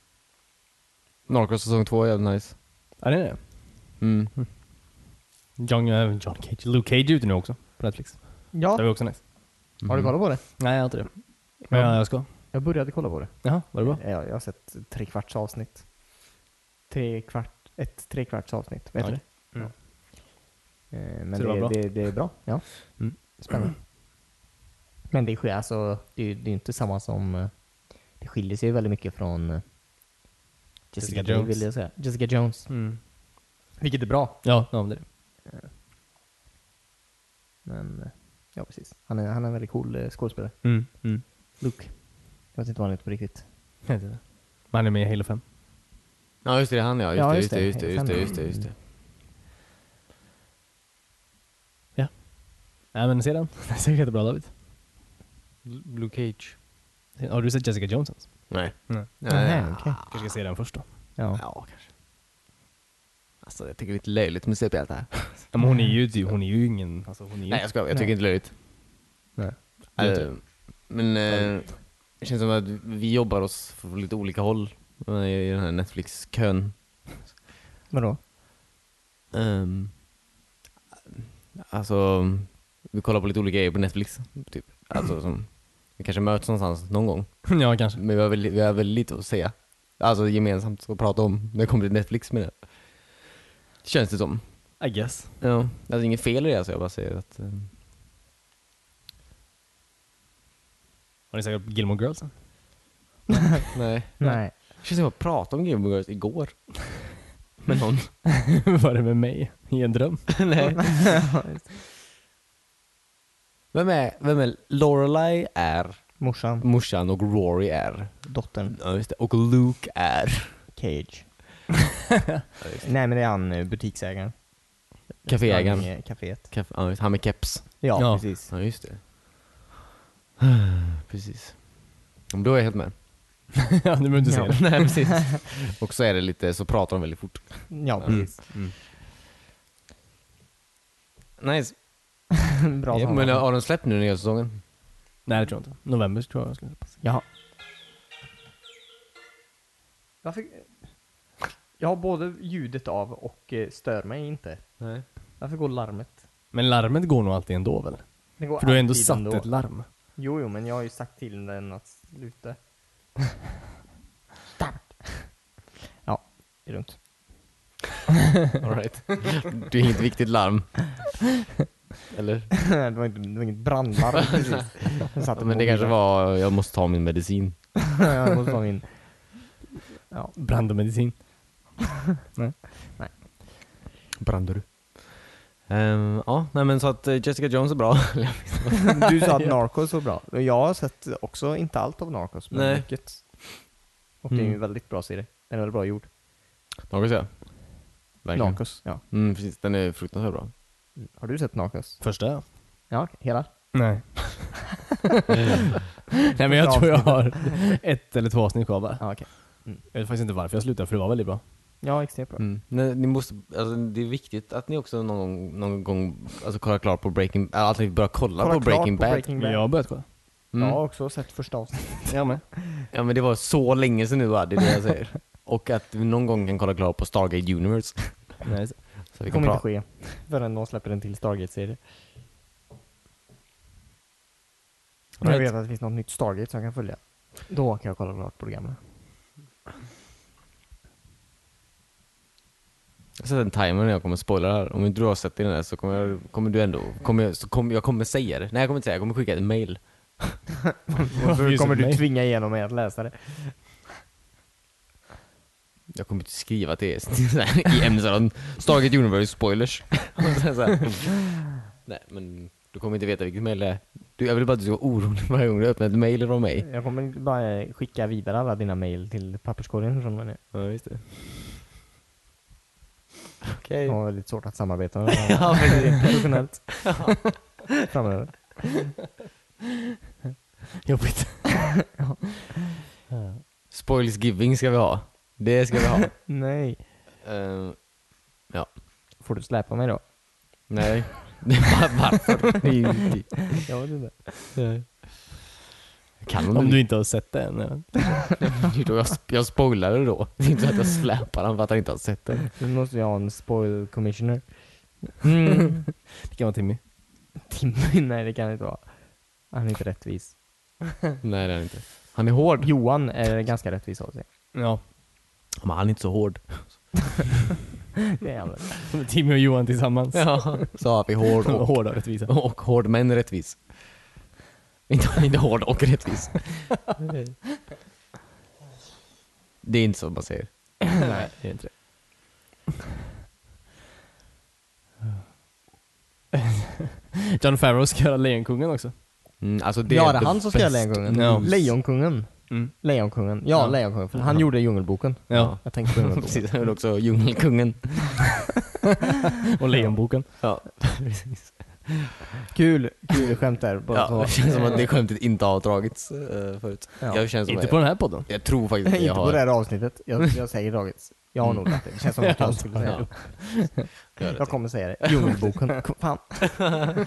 [SPEAKER 1] Narcos säsong två är jävligt nice.
[SPEAKER 3] Ja, det är det.
[SPEAKER 1] Mm.
[SPEAKER 3] John, eh, John Cage. Luke Cage är ute nu också på Netflix. Det
[SPEAKER 2] Ja,
[SPEAKER 3] var också nice.
[SPEAKER 2] har du
[SPEAKER 1] Mhm.
[SPEAKER 2] kollat på det?
[SPEAKER 3] Nej, jag har inte det. Men ja, jag ska.
[SPEAKER 2] Jag började kolla på det.
[SPEAKER 3] Jaha, var det bra?
[SPEAKER 2] Ja, jag har sett tre kvarts avsnitt. Tre kvart, ett tre kvarts avsnitt, vet du
[SPEAKER 3] Ja.
[SPEAKER 2] det?
[SPEAKER 3] Mm.
[SPEAKER 2] Eh, Men
[SPEAKER 3] Så det
[SPEAKER 2] det,
[SPEAKER 3] var
[SPEAKER 2] det,
[SPEAKER 3] bra?
[SPEAKER 2] det, är bra, ja.
[SPEAKER 3] Mm.
[SPEAKER 2] Spännande. Men det sker alltså, det är ju det är inte samma som... eh, Det skiljer sig ju väldigt mycket från eh, Jessica,
[SPEAKER 3] Jessica
[SPEAKER 2] Jones.
[SPEAKER 3] Jones.
[SPEAKER 2] Vill jag säga. Jessica Jones.
[SPEAKER 3] Mm.
[SPEAKER 2] Vilket är bra.
[SPEAKER 3] Ja, ja, men det är det.
[SPEAKER 2] Men, eh, ja precis. Han är, han är en väldigt cool eh, skådespelare.
[SPEAKER 3] Mm. Mm.
[SPEAKER 2] Luke. Jag vet inte vad han heter på riktigt.
[SPEAKER 3] Jag vet inte. Men han är med i Halo 5.
[SPEAKER 1] Ja just det, det är han ja. Just,
[SPEAKER 2] Ja,
[SPEAKER 1] det, just,
[SPEAKER 2] just
[SPEAKER 1] det,
[SPEAKER 2] det.
[SPEAKER 1] just det, just det, just det, just det.
[SPEAKER 3] Nej men se den. *laughs* Den ser jättebra David. Blue Cage. Har du sett Jessica Jones ens?
[SPEAKER 1] Nej.
[SPEAKER 3] Nej.
[SPEAKER 1] Nej.
[SPEAKER 2] Nähä, okej.
[SPEAKER 3] Kanske ska se den först då.
[SPEAKER 2] Ja.
[SPEAKER 1] Ja, kanske. Alltså jag tycker det är lite löjligt med CP-hjältar.
[SPEAKER 3] Ja, men hon är ju, typ- hon är ju ingen... Alltså, hon är ju...
[SPEAKER 1] Nej jag skojar, jag tycker
[SPEAKER 2] Nej.
[SPEAKER 1] inte löjligt.
[SPEAKER 3] Nej.
[SPEAKER 1] Eh, men eh, det känns som att vi jobbar oss från lite olika håll eh, i den här Netflix-kön.
[SPEAKER 2] Vadå?
[SPEAKER 1] Um, alltså, vi kollar på lite olika grejer på Netflix. Typ. Alltså, som, vi kanske möts någonstans någon gång.
[SPEAKER 3] *laughs* ja, kanske.
[SPEAKER 1] Men vi har, väl, vi har väl lite att säga. Alltså gemensamt att prata om när det kommer till Netflix med det. Känns det som.
[SPEAKER 3] I guess.
[SPEAKER 1] Ja, alltså inget fel i det alltså, jag bara säger att... eh,
[SPEAKER 3] Har ni säkert Gilmore Girls? *laughs* sen?
[SPEAKER 1] nej.
[SPEAKER 2] Nej.
[SPEAKER 1] Känns som att jag pratade om Game of Girls igår. Med någon.
[SPEAKER 3] Var det med mig? I en dröm?
[SPEAKER 1] *laughs* nej. Vem är, vem är Lorelai är
[SPEAKER 2] Morsan,
[SPEAKER 1] morsan och Rory är.
[SPEAKER 2] dottern,
[SPEAKER 1] Ja, just det. Och Luke är.
[SPEAKER 2] Cage. Nej men det är han eh, butiksägaren.
[SPEAKER 1] Caféägaren.
[SPEAKER 2] Restaurang, eh, Caféet.
[SPEAKER 1] Kaff- ja, just- Han med keps.
[SPEAKER 2] Ja,
[SPEAKER 3] Ja.
[SPEAKER 2] precis.
[SPEAKER 1] Ja, just det. *sighs* precis. Men då är jag helt *laughs* med.
[SPEAKER 3] *laughs* ja, du behöver inte se
[SPEAKER 2] Ja.
[SPEAKER 3] den.
[SPEAKER 1] Nej, precis. Och så är det lite, så pratar de väldigt fort. Mm.
[SPEAKER 2] Ja, precis. *laughs*
[SPEAKER 1] Nice.
[SPEAKER 2] Bra
[SPEAKER 1] Ja,
[SPEAKER 2] sammanhang.
[SPEAKER 1] men har de släppt nu den nya säsongen?
[SPEAKER 3] Nej, det tror jag inte. November tror jag jag skulle passa.
[SPEAKER 2] Jaha. Varför? Jag har både ljudet av och eh, stör mig inte.
[SPEAKER 1] Nej.
[SPEAKER 2] Varför går larmet?
[SPEAKER 3] Men larmet går nog alltid ändå väl?
[SPEAKER 2] Det går
[SPEAKER 3] För du har ändå
[SPEAKER 2] alltid
[SPEAKER 3] satt ett larm.
[SPEAKER 2] Jo, jo, men jag har ju sagt till den att sluta. *laughs* Start! Ja, det är lugnt.
[SPEAKER 1] All right. *laughs* Det är inget viktigt larm. Eller?
[SPEAKER 2] *laughs* det, var inte, det var inget *laughs* brandlarm precis. Den satte
[SPEAKER 1] Ja, men det kanske
[SPEAKER 2] mobilen.
[SPEAKER 1] var, jag måste ta min medicin.
[SPEAKER 2] *laughs* jag måste ta min... Ja,
[SPEAKER 3] Brand och medicin.
[SPEAKER 1] Brandur. Ehm, ja, nej men så att eh, Jessica Jones är bra.
[SPEAKER 2] Du *laughs* sa att Narcos var bra. Jag har sett också, inte allt av Narcos, men
[SPEAKER 1] Nej.
[SPEAKER 2] mycket. Och det är ju
[SPEAKER 1] Mm.
[SPEAKER 2] en väldigt bra serie. Den är väldigt bra gjord.
[SPEAKER 1] Något *laughs* ja. Verkligen.
[SPEAKER 2] Narcos, ja.
[SPEAKER 1] Mm, precis. Den är fruktansvärt bra.
[SPEAKER 2] Har du sett Narcos?
[SPEAKER 3] Första ja.
[SPEAKER 2] Ja, okej. hela?
[SPEAKER 3] Nej. *laughs* Nej men jag tror jag har ett eller två avsnitt kvar bara.
[SPEAKER 2] Ja, okej.
[SPEAKER 3] Jag vet faktiskt inte varför jag slutade för det var väldigt bra.
[SPEAKER 2] Ja, extremt bra.
[SPEAKER 1] Mm. Nej, ni måste, alltså, det är viktigt att ni också någon gång, någon gång alltså, kollar klart på Breaking Bad, att ni börjar kolla,
[SPEAKER 2] Kolla
[SPEAKER 1] på
[SPEAKER 2] klart
[SPEAKER 1] Breaking Bad.
[SPEAKER 2] Breaking
[SPEAKER 3] Men jag har börjat kolla.
[SPEAKER 1] Mm.
[SPEAKER 2] Jag har
[SPEAKER 1] Ja.
[SPEAKER 2] också sett första avsnittet.
[SPEAKER 3] Jag med.
[SPEAKER 1] men det var så länge sedan nu va, det är det jag *laughs* säger. Och att vi någon gång kan kolla klart på Stargate Universe.
[SPEAKER 3] Nej, så-
[SPEAKER 1] Så
[SPEAKER 2] Det
[SPEAKER 1] vi kan
[SPEAKER 2] kommer inte
[SPEAKER 1] prata.
[SPEAKER 2] ske förrän de släpper en till Stargate-serie. Om jag
[SPEAKER 3] Right.
[SPEAKER 2] vet att det finns något nytt Stargate som jag kan följa. Då kan jag kolla klart på det gamla.
[SPEAKER 1] Jag sätter en timer när jag kommer spoila det här. Om inte du har sett det innan så kommer, jag, kommer du ändå, kommer jag, så kommer, jag kommer säga det. Nej jag kommer inte säga det, jag kommer skicka ett mail.
[SPEAKER 2] *laughs* Varför kommer du
[SPEAKER 3] Nej.
[SPEAKER 2] tvinga igenom mig att läsa det?
[SPEAKER 1] Jag kommer inte skriva till *laughs* er så här, i ämnesraden. Stargate Universe spoilers. *laughs* Och sen så här. Nej men du kommer inte veta vilket mail det är. Du, jag vill bara att du ska vara orolig varje gång du öppnar ett mail från mig.
[SPEAKER 2] Jag kommer inte bara skicka vidare alla dina mail till papperskorgen från och med nu.
[SPEAKER 1] Ja, just det.
[SPEAKER 4] Okej.
[SPEAKER 2] De har väldigt svårt att samarbeta med varandra.
[SPEAKER 4] Ja, precis.
[SPEAKER 2] Professionellt. Framöver.
[SPEAKER 3] Jobbigt.
[SPEAKER 1] Spoils giving ska vi ha. Det ska vi
[SPEAKER 3] *laughs*
[SPEAKER 1] ha.
[SPEAKER 2] Nej.
[SPEAKER 1] Eh,
[SPEAKER 2] Får du släpa mig då?
[SPEAKER 1] nej. *laughs* Det är bara- Varför? *laughs* Det är ju-
[SPEAKER 2] Jag vet inte.
[SPEAKER 1] Kan man
[SPEAKER 3] Om
[SPEAKER 1] inte.
[SPEAKER 3] du inte har sett det än. eller?
[SPEAKER 1] Det är då Jag, jag spoilar det då. *laughs* Det är inte så att jag släpar han för att han inte har sett det.
[SPEAKER 2] Nu måste jag ha en spoil commissioner. *laughs*
[SPEAKER 3] Det kan vara Timmy.
[SPEAKER 2] Timmy? Nej det kan det inte vara. Han är inte rättvis.
[SPEAKER 1] Nej det är han inte. Han är hård.
[SPEAKER 2] Johan är ganska rättvis av sig.
[SPEAKER 3] Ja.
[SPEAKER 1] Men han är inte så hård.
[SPEAKER 2] Det är *laughs* han väl.
[SPEAKER 3] *laughs* Timmy och Johan tillsammans.
[SPEAKER 1] Ja. Så har vi hård och,
[SPEAKER 3] Hårda *laughs* och rättvisa.
[SPEAKER 1] *laughs* och hård men rättvis. Inte, inte hård och rättvis. Det är inte så man säger.
[SPEAKER 3] Nej, det är *laughs* inte det. John Farrow ska göra Lejonkungen också.
[SPEAKER 1] Mm, alltså det
[SPEAKER 2] Ja,
[SPEAKER 1] är
[SPEAKER 2] det är
[SPEAKER 1] the
[SPEAKER 2] han som ska göra
[SPEAKER 1] best
[SPEAKER 2] Lejonkungen.
[SPEAKER 1] news.
[SPEAKER 2] Lejonkungen.
[SPEAKER 3] Mm.
[SPEAKER 2] Lejonkungen. Ja,
[SPEAKER 3] Ja.
[SPEAKER 2] Lejonkungen. För han
[SPEAKER 3] Ja.
[SPEAKER 2] gjorde Djungelboken.
[SPEAKER 3] Ja,
[SPEAKER 2] Jag tänkte
[SPEAKER 1] *laughs*
[SPEAKER 2] på
[SPEAKER 1] *laughs*
[SPEAKER 2] Djungelboken.
[SPEAKER 1] Precis, han gjorde också Djungelkungen.
[SPEAKER 3] och Lejonboken.
[SPEAKER 1] Ja,
[SPEAKER 2] kul, kul skämt där. Bara
[SPEAKER 1] ja,
[SPEAKER 2] så.
[SPEAKER 1] det känns som att det skämtet inte har dragits eh, förut.
[SPEAKER 2] Ja.
[SPEAKER 1] Jag, känns som
[SPEAKER 3] *laughs* Inte
[SPEAKER 1] att
[SPEAKER 3] på
[SPEAKER 1] jag,
[SPEAKER 3] den här podden.
[SPEAKER 1] jag tror *laughs* faktiskt att
[SPEAKER 2] *laughs* Inte
[SPEAKER 1] jag
[SPEAKER 2] på
[SPEAKER 1] har... Mm.
[SPEAKER 2] det här avsnittet. Jag, jag säger dragits. Jag har nog rätt. Det känns som
[SPEAKER 1] *laughs*
[SPEAKER 2] att jag skulle säga det.
[SPEAKER 1] Gör det.
[SPEAKER 2] Jag kommer säga det. Djungelboken. Kom, Fan.
[SPEAKER 1] *laughs*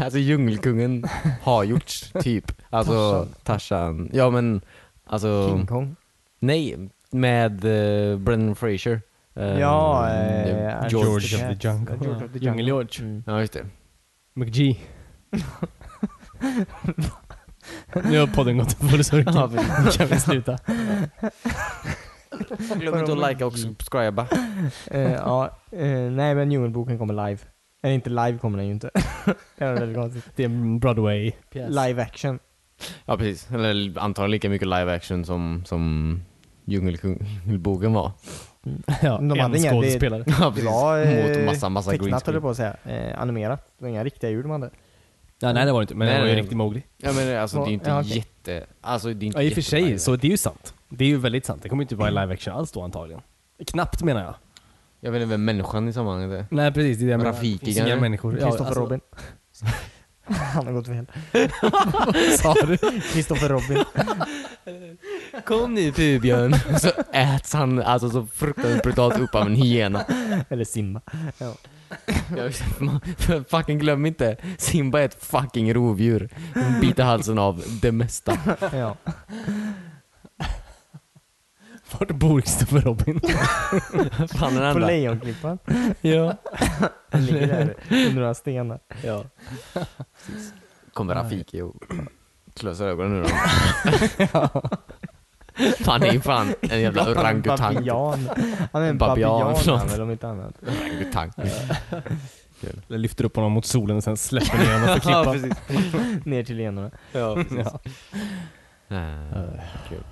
[SPEAKER 1] Alltså Djungelkungen har gjorts, typ. Alltså Tarzan. Ja men, alltså...
[SPEAKER 2] King Kong.
[SPEAKER 1] Nej, med uh, Brendan Fraser. Eh,
[SPEAKER 2] Ja,
[SPEAKER 1] mm,
[SPEAKER 2] eh,
[SPEAKER 1] det-
[SPEAKER 2] George
[SPEAKER 1] George.
[SPEAKER 2] of the Jungle. George of the Jungle.
[SPEAKER 3] Djungel-George.
[SPEAKER 1] Ja just det.
[SPEAKER 3] McGee. *laughs* nu har podden gått full
[SPEAKER 1] Ja,
[SPEAKER 3] cirkel.
[SPEAKER 1] precis.
[SPEAKER 3] Nu kan vi sluta.
[SPEAKER 1] Glöm inte att likea och subscriba.
[SPEAKER 2] Eh, ja, eh, nej men Djungelboken kommer live. Eller inte live kommer den ju inte. *laughs* det var väldigt
[SPEAKER 3] *laughs*
[SPEAKER 2] konstigt.
[SPEAKER 3] Det är en Broadway.
[SPEAKER 2] Live action.
[SPEAKER 1] Alltså, Ja precis, eller antagligen lika mycket live action som, som Djungelboken var. *laughs*
[SPEAKER 3] Ja,
[SPEAKER 2] De hade
[SPEAKER 3] en
[SPEAKER 2] inga- det-
[SPEAKER 3] skådespelare.
[SPEAKER 1] Ja
[SPEAKER 2] Det
[SPEAKER 1] precis.
[SPEAKER 2] var eh,
[SPEAKER 1] Mot massa, massa green
[SPEAKER 2] tecknat höll jag
[SPEAKER 1] screen.
[SPEAKER 2] på att säga. Eh, animerat. Det var inga riktiga djur de hade.
[SPEAKER 3] Ja, nej det var det inte, men
[SPEAKER 1] Nej,
[SPEAKER 3] det var ju
[SPEAKER 1] nej.
[SPEAKER 3] riktigt Mowgli.
[SPEAKER 1] Ja men alltså det är ju inte
[SPEAKER 2] Ja, okej.
[SPEAKER 1] jätte... Alltså det är inte
[SPEAKER 3] Ja, i och för
[SPEAKER 1] jätte-
[SPEAKER 3] sig, så det är ju sant. Det är ju väldigt sant. Det kommer ju inte vara live action alls då antagligen. Knappt menar jag.
[SPEAKER 1] Jag vet inte vem människan i sammanhanget är.
[SPEAKER 3] Nej precis, det är det jag menar.
[SPEAKER 1] Rafiki,
[SPEAKER 3] Det finns inga
[SPEAKER 1] kanske?
[SPEAKER 3] människor. Ja,
[SPEAKER 2] Kristoffer
[SPEAKER 3] alltså-
[SPEAKER 2] Robin. *laughs* Han har
[SPEAKER 1] *laughs*
[SPEAKER 2] gått fel.
[SPEAKER 3] Sa du?
[SPEAKER 2] Kristoffer Robin.
[SPEAKER 1] Kom nu Pubjörn! *laughs* så äts han alltså så fruktansvärt brutalt upp av en hyena.
[SPEAKER 2] Eller Simba. Ja.
[SPEAKER 1] Jag vill säga, man- för fucking glöm inte, Simba är ett fucking rovdjur. De biter halsen av det mesta.
[SPEAKER 2] ja.
[SPEAKER 3] Vart bor Kristoffer Robin?
[SPEAKER 1] Fan den
[SPEAKER 2] På
[SPEAKER 1] andra.
[SPEAKER 2] Lejonklippan.
[SPEAKER 3] *laughs* ja.
[SPEAKER 2] Han ligger där under några stenar.
[SPEAKER 3] ja.
[SPEAKER 1] Kommer Rafiki och klöser ögonen nu då. Han är ju fan en jävla orangutang.
[SPEAKER 2] Babian. Han är en
[SPEAKER 1] Babian,
[SPEAKER 2] babian,
[SPEAKER 1] förlåt.
[SPEAKER 2] han väl om inte annat.
[SPEAKER 1] Orangutang.
[SPEAKER 3] Eller lyfter upp honom mot solen och sen släpper ner *laughs* honom för
[SPEAKER 1] Ja,
[SPEAKER 3] klippan.
[SPEAKER 1] precis.
[SPEAKER 2] Ner till generna.
[SPEAKER 1] Ja, precis.
[SPEAKER 3] Ja.
[SPEAKER 1] Eh, kul.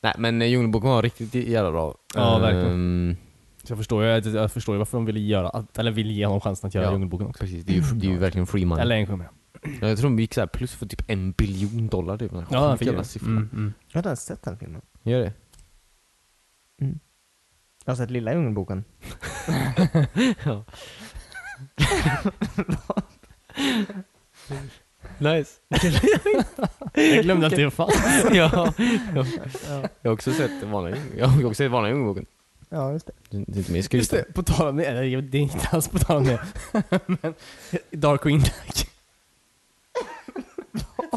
[SPEAKER 1] Nej men eh, Djungelboken var riktigt jävla bra.
[SPEAKER 3] Ja, verkligen.
[SPEAKER 1] Ehm,
[SPEAKER 3] Så jag förstår, ju- jag, jag förstår ju varför de ville göra, att- eller vill ge honom chansen att göra
[SPEAKER 1] Ja.
[SPEAKER 3] Djungelboken också. Mm.
[SPEAKER 1] Precis, det är ju, det är ju verkligen free money.
[SPEAKER 3] Eller en kommer jag.
[SPEAKER 1] Ja, Jag tror de gick så här plus för typ en biljon dollar typ.
[SPEAKER 3] Ja, han
[SPEAKER 1] Sjukt
[SPEAKER 3] fick
[SPEAKER 1] jävla
[SPEAKER 3] det.
[SPEAKER 1] siffror.
[SPEAKER 3] Mm, mm.
[SPEAKER 2] Jag har inte ens sett den filmen.
[SPEAKER 1] Gör det?
[SPEAKER 2] Jag har sett Lilla Djungelboken.
[SPEAKER 1] Nice.
[SPEAKER 3] *laughs* Jag glömde att det fanns.
[SPEAKER 1] ja. Jag
[SPEAKER 2] Ja.
[SPEAKER 1] jag har också sett vanliga, jag har också sett vanliga Djungelboken.
[SPEAKER 2] ja, just det.
[SPEAKER 1] Det är Inte mer skryt.
[SPEAKER 3] Just det, på tal om det. Eller det är inte alls på tal om det. Men Dark Queen Duck.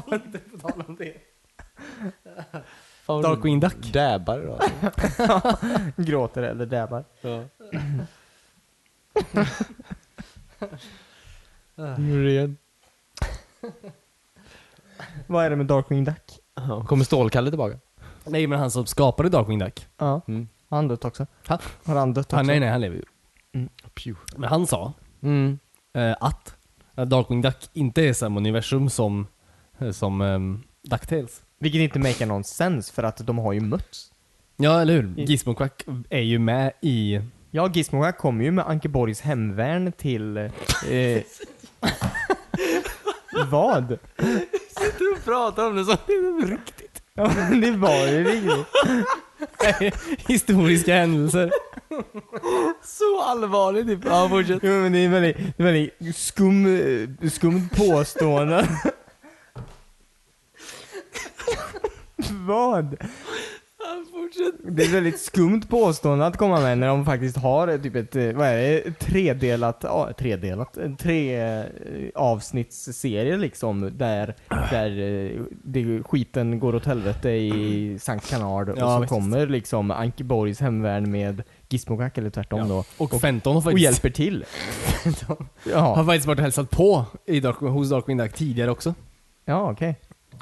[SPEAKER 3] Var inte på tal om det.
[SPEAKER 1] Fan,
[SPEAKER 3] Dark Queen Duck.
[SPEAKER 1] Dabbar då.
[SPEAKER 2] Gråter eller däbar.
[SPEAKER 1] *laughs* Gjorde det igen.
[SPEAKER 2] Vad är det med Darkwing Duck?
[SPEAKER 1] Kommer Stålkalle tillbaka?
[SPEAKER 3] Nej men han som skapade Darkwing Duck.
[SPEAKER 2] Ja.
[SPEAKER 1] Mm. Ah,
[SPEAKER 2] Har han dött också?
[SPEAKER 3] Ha?
[SPEAKER 2] Har han dött också?
[SPEAKER 3] Han, nej nej, han lever ju.
[SPEAKER 1] Pew.
[SPEAKER 3] Men han sa
[SPEAKER 1] Mm.
[SPEAKER 3] eh, att Darkwing Duck inte är samma universum som, eh, som ehm, Ducktails.
[SPEAKER 2] Vilket inte make någon sens för att de har ju mötts.
[SPEAKER 3] Ja eller hur? Gizmo Quack är ju med i... *laughs*
[SPEAKER 2] Ja, Gizmoga kommer ju med Ankeborgs hemvärn till...
[SPEAKER 1] *laughs*
[SPEAKER 2] Eh, vad?
[SPEAKER 1] Du pratar om det som riktigt.
[SPEAKER 2] Ja, men det var ju riktigt.
[SPEAKER 3] historiska händelser.
[SPEAKER 1] Så allvarligt typ. Ja, fortsätt.
[SPEAKER 2] Jo men det är väldigt, det är väldigt skum, eh, skumt påstående. Vad? Det är ett väldigt skumt påstående att komma med när de faktiskt har eh, typ ett, eh, vad är det, ett tredelat, ja, tredelat, en tre eh, avsnittsserie liksom där, där eh, det, skiten går åt helvete i Sankt Canard och
[SPEAKER 3] Ja,
[SPEAKER 2] så
[SPEAKER 3] visst.
[SPEAKER 2] kommer liksom Ankeborgs hemvärn med Gizmogack eller tvärtom då
[SPEAKER 3] Och Fenton har
[SPEAKER 2] och
[SPEAKER 3] faktiskt,
[SPEAKER 2] hjälper till. Ja,
[SPEAKER 3] har faktiskt varit och hälsat på i Dark, hos Darkwing Duck tidigare också.
[SPEAKER 2] ja okej.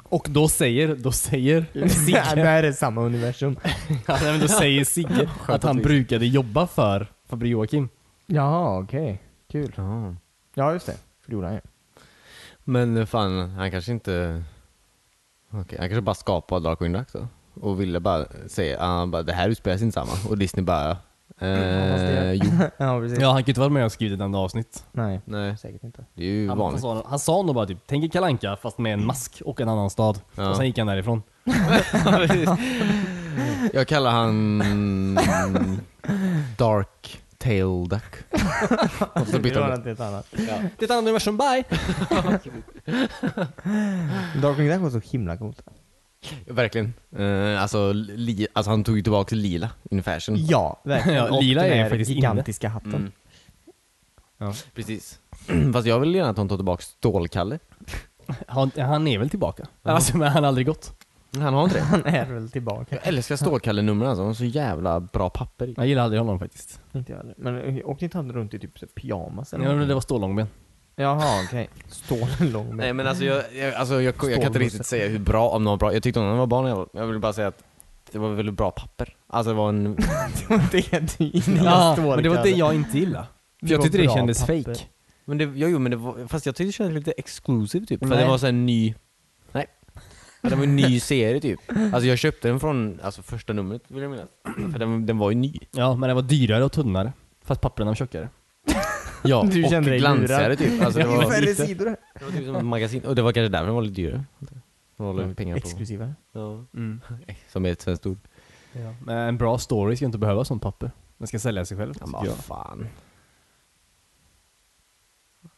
[SPEAKER 3] Och då säger, då *laughs* säger
[SPEAKER 2] Ja, *laughs* det
[SPEAKER 3] Sigge,
[SPEAKER 2] här är samma universum.
[SPEAKER 3] ja, nej, men då säger *laughs* Sigge att han
[SPEAKER 2] twist.
[SPEAKER 3] brukade jobba för Fabri Joakim.
[SPEAKER 2] Jaha, okej. Kul. Ja, just det. För det gjorde han ju.
[SPEAKER 1] Men eh, fan, han kanske inte... Okej, han kanske bara skapade Darkwing Duck då. Och ville bara säga, han bara, det här utspelar sig inte samma. Och Disney bara,
[SPEAKER 2] ja, fast
[SPEAKER 1] eh,
[SPEAKER 2] det-
[SPEAKER 1] jo.
[SPEAKER 2] *laughs* Ja, precis.
[SPEAKER 3] Ja, han kan ju inte vara med och skriva ett enda avsnitt.
[SPEAKER 2] Nej,
[SPEAKER 1] Nej,
[SPEAKER 2] säkert inte.
[SPEAKER 1] det är ju
[SPEAKER 3] Han, han,
[SPEAKER 1] vanligt.
[SPEAKER 3] sa, han sa nog bara typ, tänk i Kalanka fast med en mask och en annan stad.
[SPEAKER 1] Ja.
[SPEAKER 3] Och sen gick han därifrån.
[SPEAKER 1] *laughs* Jag kallar han mm, Dark Tail Duck. Och så bytte
[SPEAKER 2] Det var
[SPEAKER 1] han
[SPEAKER 2] något helt annat. *laughs*
[SPEAKER 3] Det är ett annat universum, bye!
[SPEAKER 2] Darkwing Duck var så himla coolt.
[SPEAKER 1] Verkligen. Eh, alltså, li, alltså han tog ju tillbaka lila in fashion.
[SPEAKER 2] *laughs* Ja, verkligen.
[SPEAKER 3] Ja,
[SPEAKER 2] Och
[SPEAKER 3] lila
[SPEAKER 2] den
[SPEAKER 3] är
[SPEAKER 2] här
[SPEAKER 3] faktiskt inne.
[SPEAKER 2] gigantiska hatten.
[SPEAKER 1] Mm.
[SPEAKER 3] Ja.
[SPEAKER 1] Precis. *clears throat* Fast jag vill gärna att de tar tillbaka Stålkalle.
[SPEAKER 3] *laughs* Han, han är väl tillbaka? Alltså, men han har aldrig gått.
[SPEAKER 1] Han har inte det.
[SPEAKER 2] *laughs* Han är väl tillbaka.
[SPEAKER 1] Jag älskar Stålkalle-numren alltså, de har så jävla bra papper i.
[SPEAKER 3] Jag gillar aldrig honom faktiskt.
[SPEAKER 2] Inte jag heller. Men eh, åkte inte han runt i typ så här pyjamas eller
[SPEAKER 3] Ja, men
[SPEAKER 2] något?
[SPEAKER 3] det var Stålångben.
[SPEAKER 2] Jaha, okej. Stålen lång
[SPEAKER 1] Nej
[SPEAKER 2] med.
[SPEAKER 1] men alltså jag, jag, alltså, jag, jag kan inte riktigt säga hur bra, om någon bra, jag tyckte om den var bra när jag var- Jag vill bara säga att det var väldigt bra papper. Alltså det var *laughs* en...
[SPEAKER 2] Det var *laughs* det du gillade.
[SPEAKER 3] men det var det jag inte gillade. För jag
[SPEAKER 2] var
[SPEAKER 3] tyckte det
[SPEAKER 2] bra
[SPEAKER 3] kändes
[SPEAKER 2] papper.
[SPEAKER 3] fake.
[SPEAKER 1] Men det, jo, jo men det var, fast jag tyckte det kändes lite exklusiv typ. För
[SPEAKER 3] Nej.
[SPEAKER 1] det var så en ny... Nej. Ja, det var en *laughs* ny serie typ. Alltså jag köpte den från, alltså första numret vill jag minnas. För den, den var ju ny.
[SPEAKER 3] Ja, men det var dyrare och tunnare. Fast papperna var tjockare.
[SPEAKER 1] Ja,
[SPEAKER 2] Du
[SPEAKER 1] och
[SPEAKER 2] kände dig
[SPEAKER 1] glansigare
[SPEAKER 2] lurad.
[SPEAKER 1] typ. Alltså, det, var,
[SPEAKER 2] var
[SPEAKER 1] det
[SPEAKER 2] färre sidor.
[SPEAKER 1] var typ som ett magasin, och det var kanske därför den var lite dyrare. De håller pengar på.
[SPEAKER 2] Exklusiva.
[SPEAKER 1] Ja. Som är ett svenskt ord.
[SPEAKER 3] Mm. Men en bra story ska inte behöva sånt papper. Den ska sälja sig själv.
[SPEAKER 1] Ja,
[SPEAKER 3] tycker
[SPEAKER 1] men
[SPEAKER 3] jag.
[SPEAKER 1] vad fan.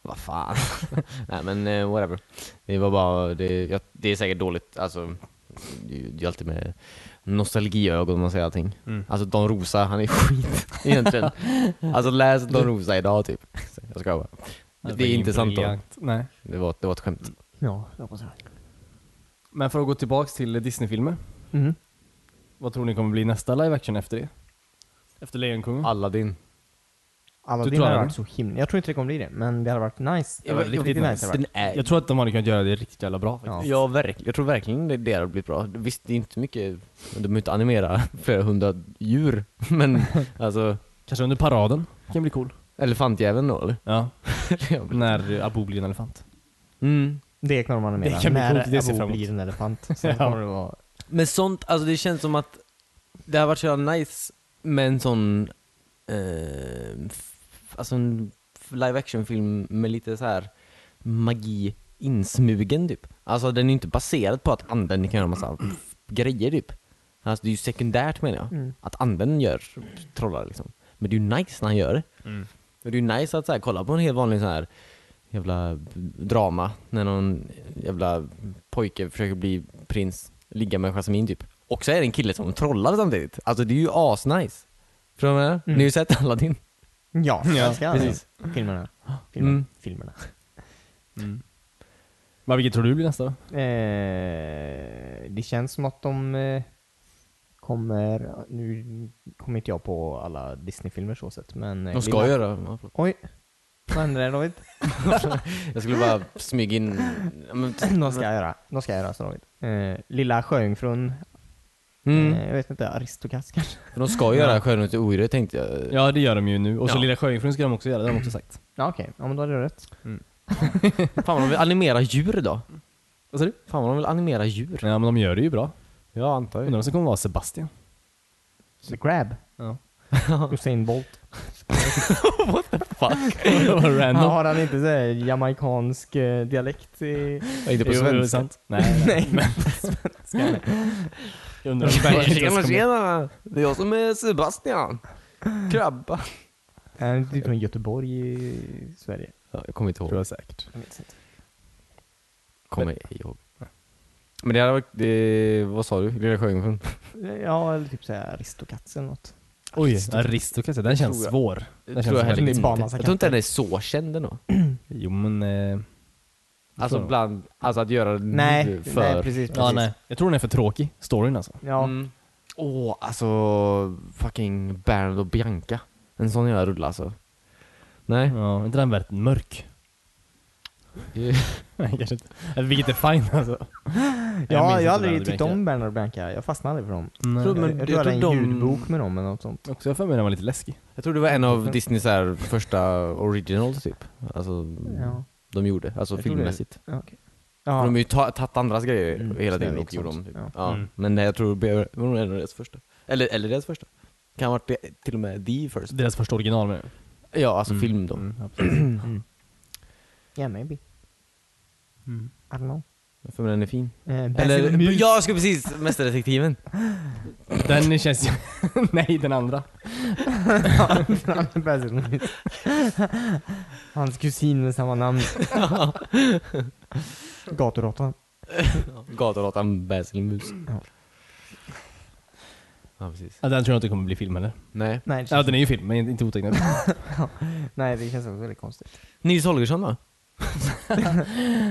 [SPEAKER 1] Vad fan. *laughs* Nej men eh, whatever. Det var bara, det, jag, det är säkert dåligt, alltså. Det är ju- det är alltid med nostalgiögon man säger allting.
[SPEAKER 3] Mm.
[SPEAKER 1] Alltså Don Rosa, han är *laughs* skit egentligen. alltså läs Don Rosa idag typ. Jag ska bara. Det,
[SPEAKER 3] var
[SPEAKER 1] är
[SPEAKER 3] ingen
[SPEAKER 1] inte sant då.
[SPEAKER 3] briljant. Nej.
[SPEAKER 1] Det var, det var ett skämt.
[SPEAKER 2] Ja, jag hoppas det.
[SPEAKER 3] Men för att gå tillbaks till Disney-filmer.
[SPEAKER 2] Mm.
[SPEAKER 3] Vad tror ni kommer bli nästa live action efter det? Efter Lejonkungen?
[SPEAKER 1] Aladdin.
[SPEAKER 2] Alla
[SPEAKER 3] Du
[SPEAKER 2] delar
[SPEAKER 3] klarar
[SPEAKER 2] hade
[SPEAKER 3] det?
[SPEAKER 2] varit så himla... Jag tror inte det kommer bli det, men det hade varit nice. Det hade varit riktigt nice. hade varit.
[SPEAKER 1] Den är,
[SPEAKER 3] Jag tror att de hade kunnat göra det riktigt jävla bra faktiskt.
[SPEAKER 2] Ja.
[SPEAKER 1] Ja, verkligen. Jag tror verkligen det, det hade blivit bra. Visst, det är inte mycket, de behöver inte animera *laughs* flera hundra djur, men alltså
[SPEAKER 3] Kanske under paraden? Kan bli cool.
[SPEAKER 1] elefantjäveln då eller? *laughs*
[SPEAKER 3] Ja.
[SPEAKER 1] Ja.
[SPEAKER 3] När Abu blir en elefant.
[SPEAKER 1] Mm.
[SPEAKER 2] Det kommer man att
[SPEAKER 3] Det
[SPEAKER 2] mena.
[SPEAKER 3] kan bli
[SPEAKER 2] När
[SPEAKER 3] coolt, det ser
[SPEAKER 2] Abu
[SPEAKER 3] fram emot.
[SPEAKER 2] blir en elefant. Sen
[SPEAKER 3] *laughs* Ja.
[SPEAKER 2] kommer det vara...
[SPEAKER 1] Men sånt, alltså det känns som att det har varit så jävla nice med en sån, eh, f- alltså en f- live action film med lite så här magi insmugen typ. Alltså den är inte baserad på att anden kan göra massa f- grejer typ. Alltså det är ju sekundärt menar jag.
[SPEAKER 2] Mm.
[SPEAKER 1] Att anden gör trollar liksom. Men det är ju nice när han gör det. Och det är ju nice att så här, kolla på en helt vanlig sån här jävla drama när någon jävla pojke försöker bli prins, ligga med Jasmine typ. Och så är det en kille som trollar samtidigt. Alltså det är ju asnice. Förstår du vad jag menar? Ni har ju sett Aladdin.
[SPEAKER 2] Ja,
[SPEAKER 3] Ja,
[SPEAKER 2] jag älskar
[SPEAKER 1] precis.
[SPEAKER 2] alla filmerna. Filmer,
[SPEAKER 1] Mm.
[SPEAKER 2] Filmerna.
[SPEAKER 3] Men vilket tror du blir nästa då?
[SPEAKER 2] Eh, det känns som att de eh, kommer... Nu kommer inte jag på alla Disney-filmer så sett, men... eh,
[SPEAKER 1] De ska
[SPEAKER 2] Lilla-
[SPEAKER 1] göra, ja, förlåt.
[SPEAKER 2] Oj. Vad hände där
[SPEAKER 3] *laughs*
[SPEAKER 2] David?
[SPEAKER 1] jag skulle bara smyga in, ja, men,
[SPEAKER 2] De ska göra. De ska göra så David. Eh, Lilla Sjöjungfrun.
[SPEAKER 1] mm,
[SPEAKER 2] Eh, jag vet inte, Aristokatt kanske?
[SPEAKER 1] för de ska göra Skönhet och odjuret tänkte jag.
[SPEAKER 3] Ja det gör de ju nu. Och så
[SPEAKER 1] typ. Ja.
[SPEAKER 3] Lilla Sjöjungfrun ska de också göra, det har de också sagt.
[SPEAKER 2] Ja okej, ja men då hade du rätt.
[SPEAKER 1] Fan vad de vill animera djur då.
[SPEAKER 3] Vad sa du?
[SPEAKER 1] Fan vad de vill animera djur.
[SPEAKER 3] Ja men de gör det ju bra.
[SPEAKER 1] Jag antar *laughs*
[SPEAKER 3] Undrar vem som kommer vara Sebastian?
[SPEAKER 2] The Grab.
[SPEAKER 3] Ja.
[SPEAKER 2] *laughs* Usain Bolt.
[SPEAKER 1] Fuck.
[SPEAKER 3] Det var
[SPEAKER 2] Han
[SPEAKER 3] random.
[SPEAKER 2] har han inte såhär jamaicansk eh, dialekt i...
[SPEAKER 1] Jag är inte på
[SPEAKER 3] Jo, det är
[SPEAKER 1] svenska.
[SPEAKER 3] sant. Nej, nej.
[SPEAKER 2] Nej, men
[SPEAKER 1] *laughs*
[SPEAKER 3] Jag undrar om Bergqvist
[SPEAKER 1] Tjena
[SPEAKER 3] kommer-
[SPEAKER 1] tjena! Det är jag som är Sebastian. Krabba.
[SPEAKER 2] Han är typ från Göteborg i Sverige.
[SPEAKER 1] Ja, jag kommer inte ihåg.
[SPEAKER 3] Tror jag säkert.
[SPEAKER 2] Jag minns inte.
[SPEAKER 1] Kommer ihåg. Men det hade varit, det, vad sa du? Lilla Sjöjungfrun?
[SPEAKER 2] Ja, eller typ såhär Aristocats eller något.
[SPEAKER 3] Oj, Aristocats. Den känns
[SPEAKER 1] Tror jag.
[SPEAKER 3] svår. Den
[SPEAKER 1] Tror jag,
[SPEAKER 3] känns
[SPEAKER 1] heller
[SPEAKER 3] väldigt
[SPEAKER 1] inte.
[SPEAKER 2] span,
[SPEAKER 1] jag
[SPEAKER 2] massa
[SPEAKER 1] tror inte den är så känd ändå.
[SPEAKER 3] Jo men... Eh,
[SPEAKER 1] Alltså
[SPEAKER 3] så.
[SPEAKER 1] bland, alltså att göra den
[SPEAKER 2] Nej,
[SPEAKER 1] nu för...
[SPEAKER 2] nej precis. precis.
[SPEAKER 3] Ja, nej. Jag tror den är för tråkig, storyn alltså.
[SPEAKER 2] Ja,
[SPEAKER 1] Mm. Åh, alltså fucking Bernard och Bianca. En sån jävla rulle alltså. *laughs* Nej.
[SPEAKER 3] Ja, inte den värt en mörk? *laughs* Nej, kanske inte. Eller, Vilket är fine alltså. minns
[SPEAKER 2] ja
[SPEAKER 3] inte
[SPEAKER 2] jag har
[SPEAKER 3] den,
[SPEAKER 2] aldrig
[SPEAKER 3] det
[SPEAKER 2] tyckt
[SPEAKER 3] blir
[SPEAKER 2] om Bernard och Bianca. Jag fastnade aldrig för dem.
[SPEAKER 3] Nej.
[SPEAKER 1] Tror- Men
[SPEAKER 2] jag, jag
[SPEAKER 1] jag
[SPEAKER 2] tror jag hade en
[SPEAKER 1] tror de-
[SPEAKER 2] ljudbok med dem eller något sånt.
[SPEAKER 3] Också jag för mig den var lite läskig.
[SPEAKER 1] Jag tror det var en *laughs* av Disneys här, första originals typ. Alltså,
[SPEAKER 2] Ja.
[SPEAKER 1] de gjorde. Alltså
[SPEAKER 2] Jag tror det.
[SPEAKER 1] filmmässigt.
[SPEAKER 2] Ja, okej.
[SPEAKER 1] För De har
[SPEAKER 2] Ja.
[SPEAKER 1] ju ta- tagit andras grejer
[SPEAKER 2] Mm,
[SPEAKER 1] hela tiden
[SPEAKER 2] snäll
[SPEAKER 1] och
[SPEAKER 2] och
[SPEAKER 1] gjort dem.
[SPEAKER 2] sånt.
[SPEAKER 1] Typ. Ja.
[SPEAKER 2] Ja.
[SPEAKER 3] Mm.
[SPEAKER 1] Men nej, jag tror det var nog en av deras första. Eller, eller deras första. Kan ha varit det, till och med the first.
[SPEAKER 3] Deras första original med
[SPEAKER 1] Ja, alltså film då.
[SPEAKER 2] Yeah maybe. I don't know.
[SPEAKER 1] För den är fin.
[SPEAKER 2] Eh, Basil
[SPEAKER 1] Eller,
[SPEAKER 2] Mus-
[SPEAKER 1] jag ska precis, Mästerdetektiven.
[SPEAKER 3] Den känns ju... *laughs* Nej, den andra.
[SPEAKER 2] Basil Mus. Hans kusin med samma namn. Gaturåttan.
[SPEAKER 1] Gaturåttan Basilmus.
[SPEAKER 2] Ja.
[SPEAKER 1] Ja, precis.
[SPEAKER 3] Ja, den tror jag inte kommer bli film heller.
[SPEAKER 1] Nej.
[SPEAKER 2] Nej, det
[SPEAKER 3] Ja,
[SPEAKER 2] känns,
[SPEAKER 3] den är ju film, men inte otecknad.
[SPEAKER 2] nej, det känns också väldigt konstigt.
[SPEAKER 1] Nils Holgersson va?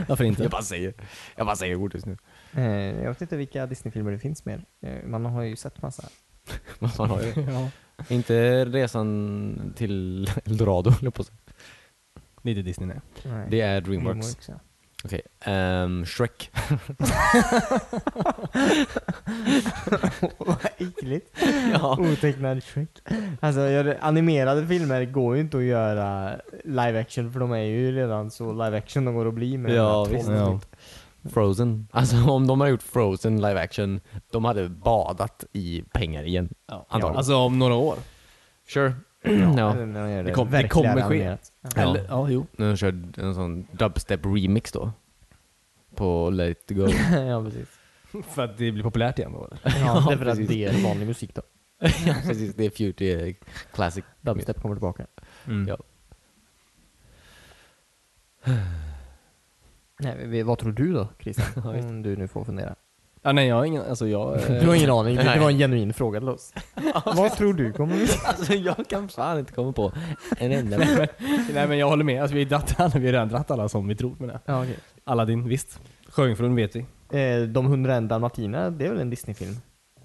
[SPEAKER 3] Varför
[SPEAKER 1] *laughs*
[SPEAKER 3] inte?
[SPEAKER 1] Jag bara säger. Jag bara säger ord just nu. *laughs*
[SPEAKER 2] Eh, jag vet inte vilka Disney-filmer det finns mer. Eh, man har ju sett massa. Eh,
[SPEAKER 1] Vad fan har jag?
[SPEAKER 3] Ja.
[SPEAKER 1] *laughs* Inte resan till Eldorado höll jag på att säga.
[SPEAKER 3] Det är inte Disney, nej.
[SPEAKER 2] Nej.
[SPEAKER 1] Det är Dreamworks.
[SPEAKER 2] ja.
[SPEAKER 1] Okej. ehm, Shrek.
[SPEAKER 2] *laughs* Vad äckligt.
[SPEAKER 1] *laughs* Ja.
[SPEAKER 2] Otecknad Shrek. Alltså, jag, animerade filmer går ju inte att göra live action för de är ju redan så live action de går att bli med.
[SPEAKER 1] Ja,
[SPEAKER 2] de här
[SPEAKER 1] visst.
[SPEAKER 2] tolv.
[SPEAKER 3] Ja.
[SPEAKER 1] Frozen. Alltså om de hade gjort Frozen live action, de hade badat i pengar igen.
[SPEAKER 3] Ja.
[SPEAKER 1] Antagligen.
[SPEAKER 3] Alltså om några år. *laughs*
[SPEAKER 1] Sure. *clears throat* Ja.
[SPEAKER 2] Eller när de gör
[SPEAKER 3] Det kom- det
[SPEAKER 2] verkligen
[SPEAKER 3] kommer ske.
[SPEAKER 2] animerat. Ja.
[SPEAKER 1] Ja.
[SPEAKER 3] Eller, ja, jo.
[SPEAKER 1] När de körde en sån dubstep remix då. På Let It *laughs* Go.
[SPEAKER 2] ja, *laughs* precis.
[SPEAKER 3] För att det blir populärt igen då.
[SPEAKER 2] Ja, därför
[SPEAKER 1] precis.
[SPEAKER 2] att det är vanlig musik då.
[SPEAKER 1] ja precis, det är Future Classic.
[SPEAKER 2] Dubstep kommer tillbaka.
[SPEAKER 3] Mm.
[SPEAKER 1] Ja.
[SPEAKER 2] Nej, vi- vad tror du då, *laughs* Christian? Om du nu får fundera.
[SPEAKER 3] Ja, nej, jag har ingen... Alltså jag...
[SPEAKER 2] *laughs*
[SPEAKER 3] eh,
[SPEAKER 2] Du har ingen aning, det
[SPEAKER 1] Nej.
[SPEAKER 2] var en genuin fråga till *laughs* oss. Vad tror du kommer bli?
[SPEAKER 1] *laughs* Alltså jag kan fan inte komma på en *laughs* enda.
[SPEAKER 3] Nej men jag håller med, alltså, vi, har dratt alla, vi har redan dratt alla som vi tror med det.
[SPEAKER 2] Ja, okej.
[SPEAKER 3] Aladdin, visst. Sjöjungfrun vet vi.
[SPEAKER 2] Eh, De 101 dalmatinerna, det är väl en Disney-film?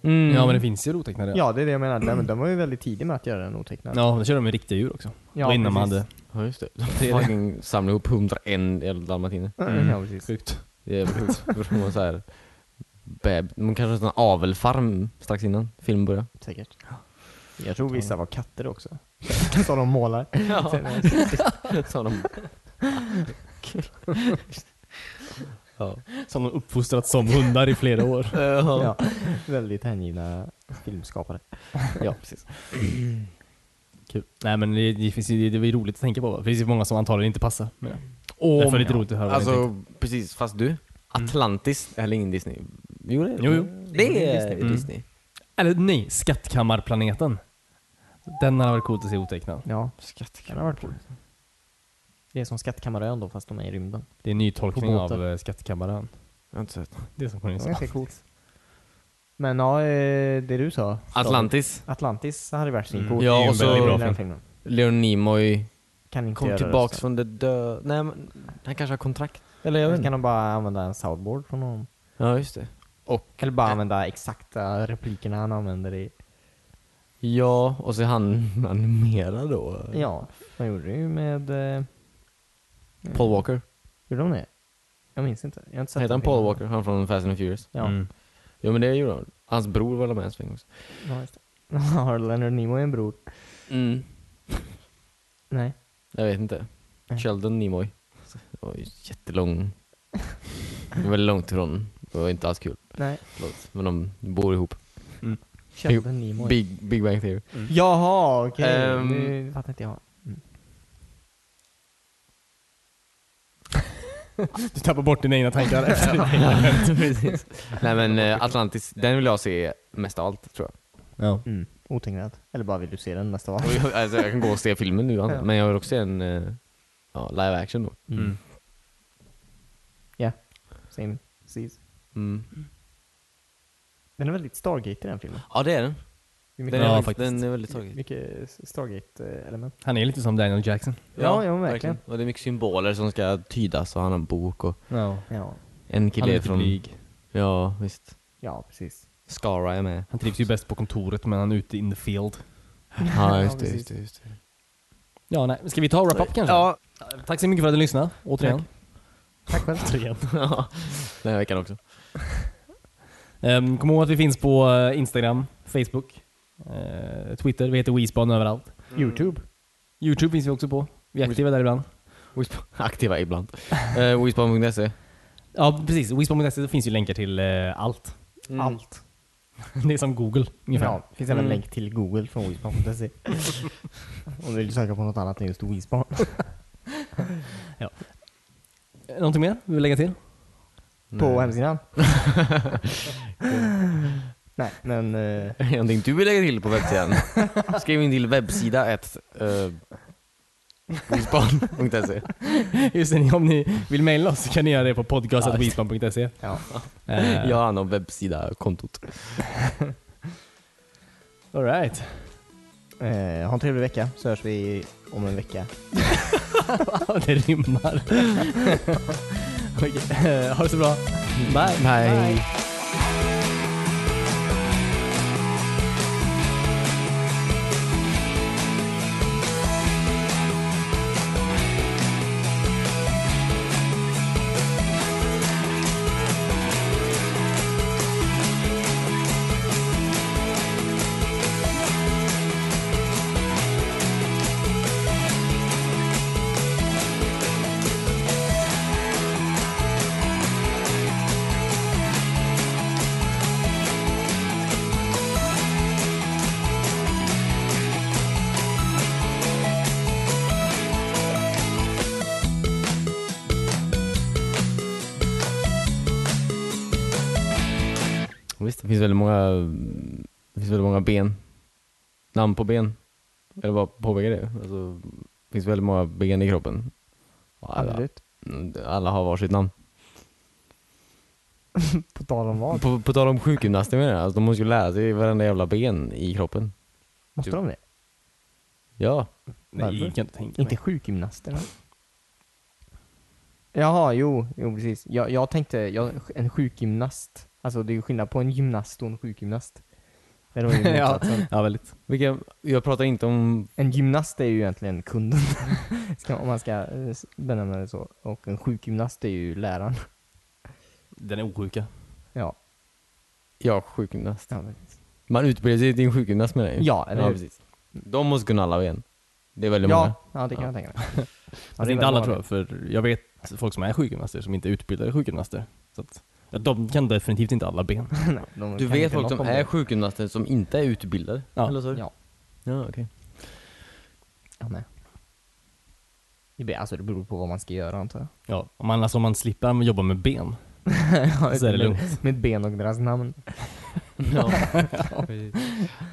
[SPEAKER 1] Mm.
[SPEAKER 3] Ja men det finns ju otecknade.
[SPEAKER 2] Ja, det är det jag menar. Nej, men de var ju väldigt tidiga med att göra den otecknad.
[SPEAKER 3] Ja, då körde de med riktiga djur också. Ja, och innan man
[SPEAKER 2] precis.
[SPEAKER 3] hade...
[SPEAKER 1] Ja just *laughs* det. De fucking samlade ihop 101 jävla dalmatiner.
[SPEAKER 3] Mm.
[SPEAKER 2] Ja, precis.
[SPEAKER 3] Sjukt.
[SPEAKER 1] Det är *laughs* sjukt. För de var så här, beb- man kanske hade en sån avelfarm strax innan filmen började.
[SPEAKER 2] Säkert. Jag tror vissa var katter också. *laughs* Som de målar.
[SPEAKER 1] *laughs* Sa de. ja.
[SPEAKER 3] Som de uppfostrat som hundar i flera år.
[SPEAKER 2] Ja, väldigt hängivna filmskapare.
[SPEAKER 1] ja, precis.
[SPEAKER 3] Kul. Nej men det, det, finns ju, det, det är roligt att tänka på. va? Det finns ju många som antagligen inte passar. Men, eh, Därför är det lite roligt att höra vad ni tänkte.
[SPEAKER 1] Alltså precis, fast du? Atlantis, eller ingen Disney? Jo, det är
[SPEAKER 3] Jo, jo.
[SPEAKER 1] Det är Disney.
[SPEAKER 3] Mm.
[SPEAKER 1] Disney.
[SPEAKER 3] Eller nej, Skattkammarplaneten. Den hade varit coolt att se otecknad.
[SPEAKER 2] Ja,
[SPEAKER 1] Skattkamp.
[SPEAKER 2] kan ha varit kul. Det är som Skattkammarön då, fast de är i rymden.
[SPEAKER 3] Det är en ny tolkning
[SPEAKER 2] På båten.
[SPEAKER 3] av eh, Skattkammaren.
[SPEAKER 1] Jag har inte sett.
[SPEAKER 3] Det är som
[SPEAKER 2] Det
[SPEAKER 3] Cornelis sa.
[SPEAKER 2] var ganska coolt. Men ja, eh, det du sa.
[SPEAKER 1] Atlantis.
[SPEAKER 2] Atlantis hade varit sin
[SPEAKER 3] Mm.
[SPEAKER 2] coolt.
[SPEAKER 1] Ja,
[SPEAKER 2] Det är ju
[SPEAKER 1] och så-
[SPEAKER 2] en väldigt
[SPEAKER 3] bra
[SPEAKER 2] den
[SPEAKER 3] film.
[SPEAKER 2] filmen.
[SPEAKER 1] Leon Nimoy
[SPEAKER 2] Kan inte
[SPEAKER 1] kom
[SPEAKER 2] göra
[SPEAKER 1] tillbaks
[SPEAKER 2] det.
[SPEAKER 1] från de döda. Nej, men han kanske har kontrakt. Eller jag vet
[SPEAKER 2] Eller
[SPEAKER 1] inte.
[SPEAKER 2] kan de bara använda en soundboard från honom?
[SPEAKER 1] Ja, just det.
[SPEAKER 2] Eller bara använda exakta replikerna han använder i...
[SPEAKER 1] Ja, och så är han *laughs* animerad då.
[SPEAKER 2] Ja, de gjorde det ju med... eh,
[SPEAKER 1] Paul Walker.
[SPEAKER 2] Gjorde de det? Jag minns inte. Jag har inte sett
[SPEAKER 1] Heter han
[SPEAKER 2] den filmen.
[SPEAKER 1] Paul Walker? Han från Fast and the Furious.
[SPEAKER 2] Ja.
[SPEAKER 3] Mm.
[SPEAKER 1] Jo men det gjorde han. Hans bror var väl med en sväng också.
[SPEAKER 2] ja just det. *laughs* Har Leonard Nimoy en bror?
[SPEAKER 1] Mm.
[SPEAKER 2] Nej.
[SPEAKER 1] Jag vet inte.
[SPEAKER 2] Nej.
[SPEAKER 1] Sheldon Nimoy. Det var ju
[SPEAKER 3] *laughs*
[SPEAKER 1] jättelång. Det var väldigt långt ifrån. Det var inte alls kul.
[SPEAKER 2] Nej.
[SPEAKER 1] Förlåt. Men de bor ihop.
[SPEAKER 2] Sheldon Nimoy.
[SPEAKER 1] Big, Big Bang Theory.
[SPEAKER 2] Jaha, okej.
[SPEAKER 1] Ehm.
[SPEAKER 2] Nu fattar inte jag.
[SPEAKER 3] Du tappar bort dina egna tankar efter
[SPEAKER 1] *laughs*
[SPEAKER 3] det.
[SPEAKER 1] Precis. Nej men eh, Atlantis, den vill jag se mest av allt tror jag.
[SPEAKER 3] Ja.
[SPEAKER 2] Mm. otingrat. Eller bara vill du se den nästa va?
[SPEAKER 1] Och jag- *laughs* Alltså, jag kan gå och se filmen nu,
[SPEAKER 2] Ja.
[SPEAKER 1] antar jag. men jag vill också se en eh, ja, live action då.
[SPEAKER 2] Mm. Ja. *laughs* Same. Seas.
[SPEAKER 1] Mm.
[SPEAKER 2] Den är väldigt Stargate i den filmen.
[SPEAKER 1] Ja, det är den.
[SPEAKER 2] Det
[SPEAKER 1] Den
[SPEAKER 2] är mycket,
[SPEAKER 1] är,
[SPEAKER 3] Ja,
[SPEAKER 1] faktiskt.
[SPEAKER 3] faktiskt.
[SPEAKER 1] Den är väldigt tagen.
[SPEAKER 2] mycket eh, Stargate-element.
[SPEAKER 3] Han är lite som Daniel Jackson.
[SPEAKER 2] Ja, ja, verkligen.
[SPEAKER 1] Och det är mycket symboler som ska tydas och han har en bok och
[SPEAKER 3] Ja.
[SPEAKER 2] Ja,
[SPEAKER 1] en
[SPEAKER 3] Han
[SPEAKER 1] kille
[SPEAKER 3] är
[SPEAKER 1] är
[SPEAKER 3] lite
[SPEAKER 1] från...
[SPEAKER 3] blyg.
[SPEAKER 1] Ja, visst.
[SPEAKER 2] ja precis.
[SPEAKER 1] Skara är
[SPEAKER 2] *laughs*
[SPEAKER 1] med.
[SPEAKER 3] Han trivs ju bäst på kontoret men han är ute in the field.
[SPEAKER 1] Ja, just det,
[SPEAKER 2] precis.
[SPEAKER 1] just det, just det.
[SPEAKER 3] Ja, nej. Ska vi ta och wrap up kanske?
[SPEAKER 1] Ja.
[SPEAKER 3] Tack så mycket för att du lyssnade, återigen.
[SPEAKER 2] Tack *laughs* själv.
[SPEAKER 3] återigen.
[SPEAKER 1] Ja, *laughs* Den här veckan också.
[SPEAKER 3] Ehm, kom ihåg att vi finns på eh, Instagram, Facebook, eh, Twitter. Vi heter Weespan överallt.
[SPEAKER 2] Youtube.
[SPEAKER 3] Youtube finns vi också på. Vi är aktiva där ibland.
[SPEAKER 1] Wisp- Aktiva
[SPEAKER 2] *laughs*
[SPEAKER 1] ibland. Uh, Wispan.se.
[SPEAKER 3] Ja, precis. Weespan.se finns ju länkar till eh, allt. *laughs*
[SPEAKER 2] Allt.
[SPEAKER 3] Det är som Google, ungefär.
[SPEAKER 2] Ja, det finns även en
[SPEAKER 1] Mm.
[SPEAKER 2] länk till Google från *laughs* Weespan.se. Om du vill söka på något annat än just Weespan.
[SPEAKER 3] Eh, Någonting mer du vill lägga till?
[SPEAKER 2] På *laughs* hemsidan. Nej, men...
[SPEAKER 1] *laughs*
[SPEAKER 2] eh,
[SPEAKER 1] Någonting du vill lägga till på *laughs* webbsidan? Skriv in till webbsida 1. Uh, *laughs* Wispan.se.
[SPEAKER 3] *laughs* Just det, om ni vill mejla oss så kan ni göra det på podcast.weespan.se.
[SPEAKER 2] ja.
[SPEAKER 3] *laughs* Eh,
[SPEAKER 1] Jag har hand om webbsida-kontot.
[SPEAKER 3] All *laughs* right.
[SPEAKER 2] Eh, ha en trevlig vecka, så hörs vi om en vecka.
[SPEAKER 3] det rimmar. *laughs* Okej, eh, ha det så bra. Bye.
[SPEAKER 1] Bye. Visst, det finns väldigt många, det finns väldigt många ben. Namn på ben. Eller bara påpeka det. Alltså, det finns väldigt många ben i kroppen. Och Alla,
[SPEAKER 2] Absolut.
[SPEAKER 1] alla har varsitt namn.
[SPEAKER 2] På tal om vad?
[SPEAKER 1] På, på tal om sjukgymnaster menar jag. Alltså, de måste ju lära sig varenda jävla ben i kroppen.
[SPEAKER 2] Måste de det?
[SPEAKER 1] Ja.
[SPEAKER 3] Nej,
[SPEAKER 2] Varför?
[SPEAKER 3] jag kan inte tänka
[SPEAKER 2] Inte
[SPEAKER 3] mig.
[SPEAKER 2] sjukgymnasterna? Jaha, jo, jo precis. Jag, jag tänkte, jag, en sjukgymnast. Alltså det är ju skillnad på en gymnast och en sjukgymnast. Det var ju
[SPEAKER 3] Ja.
[SPEAKER 2] motsatsen.
[SPEAKER 3] Ja, väldigt.
[SPEAKER 1] Vilka, jag pratar inte om...
[SPEAKER 2] En gymnast är ju egentligen kunden, *laughs* ska, om man ska eh, s- benämna det så. Och en sjukgymnast är ju läraren.
[SPEAKER 3] Den är osjuka.
[SPEAKER 2] Ja,
[SPEAKER 1] Ja, sjukgymnast.
[SPEAKER 2] ja, precis.
[SPEAKER 1] Man utbildar sig till en sjukgymnast menar jag ju.
[SPEAKER 2] Ja, eller hur?
[SPEAKER 1] precis. De måste kunna alla ben. Det är väldigt många.
[SPEAKER 2] ja, ja det kan jag tänka mig. Ja,
[SPEAKER 3] Fast
[SPEAKER 2] det är
[SPEAKER 3] Alltså, inte alla
[SPEAKER 2] väldigt
[SPEAKER 3] tror jag, för jag vet folk som är sjukgymnaster som inte är utbildade sjukgymnaster. Så att, ja, de kan definitivt inte alla *laughs* ben.
[SPEAKER 2] vanligt. *laughs* Nej, de
[SPEAKER 1] Du
[SPEAKER 2] kan
[SPEAKER 1] vet
[SPEAKER 2] inte
[SPEAKER 1] folk
[SPEAKER 2] något
[SPEAKER 1] som
[SPEAKER 2] om
[SPEAKER 1] är
[SPEAKER 2] det.
[SPEAKER 1] sjukgymnaster som inte är utbildade?
[SPEAKER 3] Ja.
[SPEAKER 1] Eller så?
[SPEAKER 2] Ja,
[SPEAKER 1] ja okej.
[SPEAKER 2] jag med. Det beror- Alltså det beror på vad man ska göra antar jag.
[SPEAKER 3] Ja, om man, alltså, om man slipper jobba med ben
[SPEAKER 2] Ja,
[SPEAKER 3] så är det
[SPEAKER 2] med-
[SPEAKER 3] lugnt.
[SPEAKER 2] Med ben och deras namn.
[SPEAKER 1] *laughs* Ja. Nej,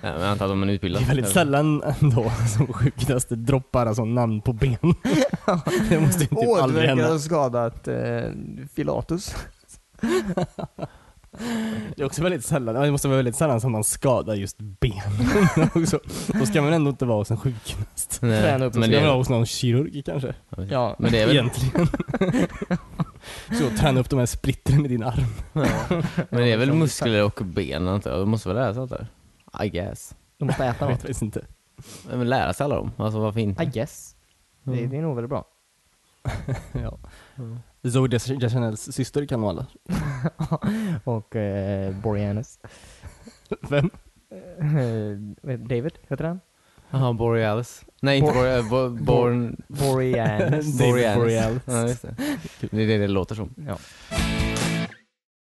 [SPEAKER 1] men jag antar att de är
[SPEAKER 3] Det
[SPEAKER 1] utbildade.
[SPEAKER 3] är väldigt sällan ändå *laughs* som sjukgymnaster droppar alltså namn
[SPEAKER 1] *laughs*
[SPEAKER 3] på ben. Det måste ju typ aldrig hända.
[SPEAKER 2] skadat eh, Filatus.
[SPEAKER 3] Det är också väldigt sällan, ja, det måste vara väldigt sällan som man skadar just ben. *laughs* också. Då ska man ändå inte vara hos en sjukgymnast.
[SPEAKER 1] Nej,
[SPEAKER 2] Träna upp
[SPEAKER 1] men
[SPEAKER 3] Ska
[SPEAKER 1] det,
[SPEAKER 3] man vara hos någon kirurg kanske?
[SPEAKER 2] Ja.
[SPEAKER 1] men det är väl, *laughs*
[SPEAKER 3] Egentligen. Så träna upp de här splittren i din arm.
[SPEAKER 1] men det är väl muskler och ben antar jag? De måste väl lära sig allt det här? I guess.
[SPEAKER 2] De måste äta
[SPEAKER 3] Jag vet
[SPEAKER 2] något.
[SPEAKER 3] faktiskt inte.
[SPEAKER 1] Men lära sig alla dem? Alltså varför
[SPEAKER 2] I
[SPEAKER 1] inte?
[SPEAKER 2] guess. Det, det är nog väldigt bra.
[SPEAKER 3] Ja. Zoe Des- Deschanels syster kan nog alla.
[SPEAKER 2] Och eh, Boreanaz. *laughs*
[SPEAKER 3] Vem?
[SPEAKER 2] Eh, David, heter han?
[SPEAKER 1] Jaha, Borealis. Nej inte
[SPEAKER 2] Bor-
[SPEAKER 1] Borealis, bo,
[SPEAKER 2] *laughs*
[SPEAKER 1] Born...
[SPEAKER 2] Boreanaz.
[SPEAKER 3] David
[SPEAKER 1] Borealis.
[SPEAKER 3] Borealis.
[SPEAKER 1] Ja, just det. det är det det låter som.
[SPEAKER 2] ja.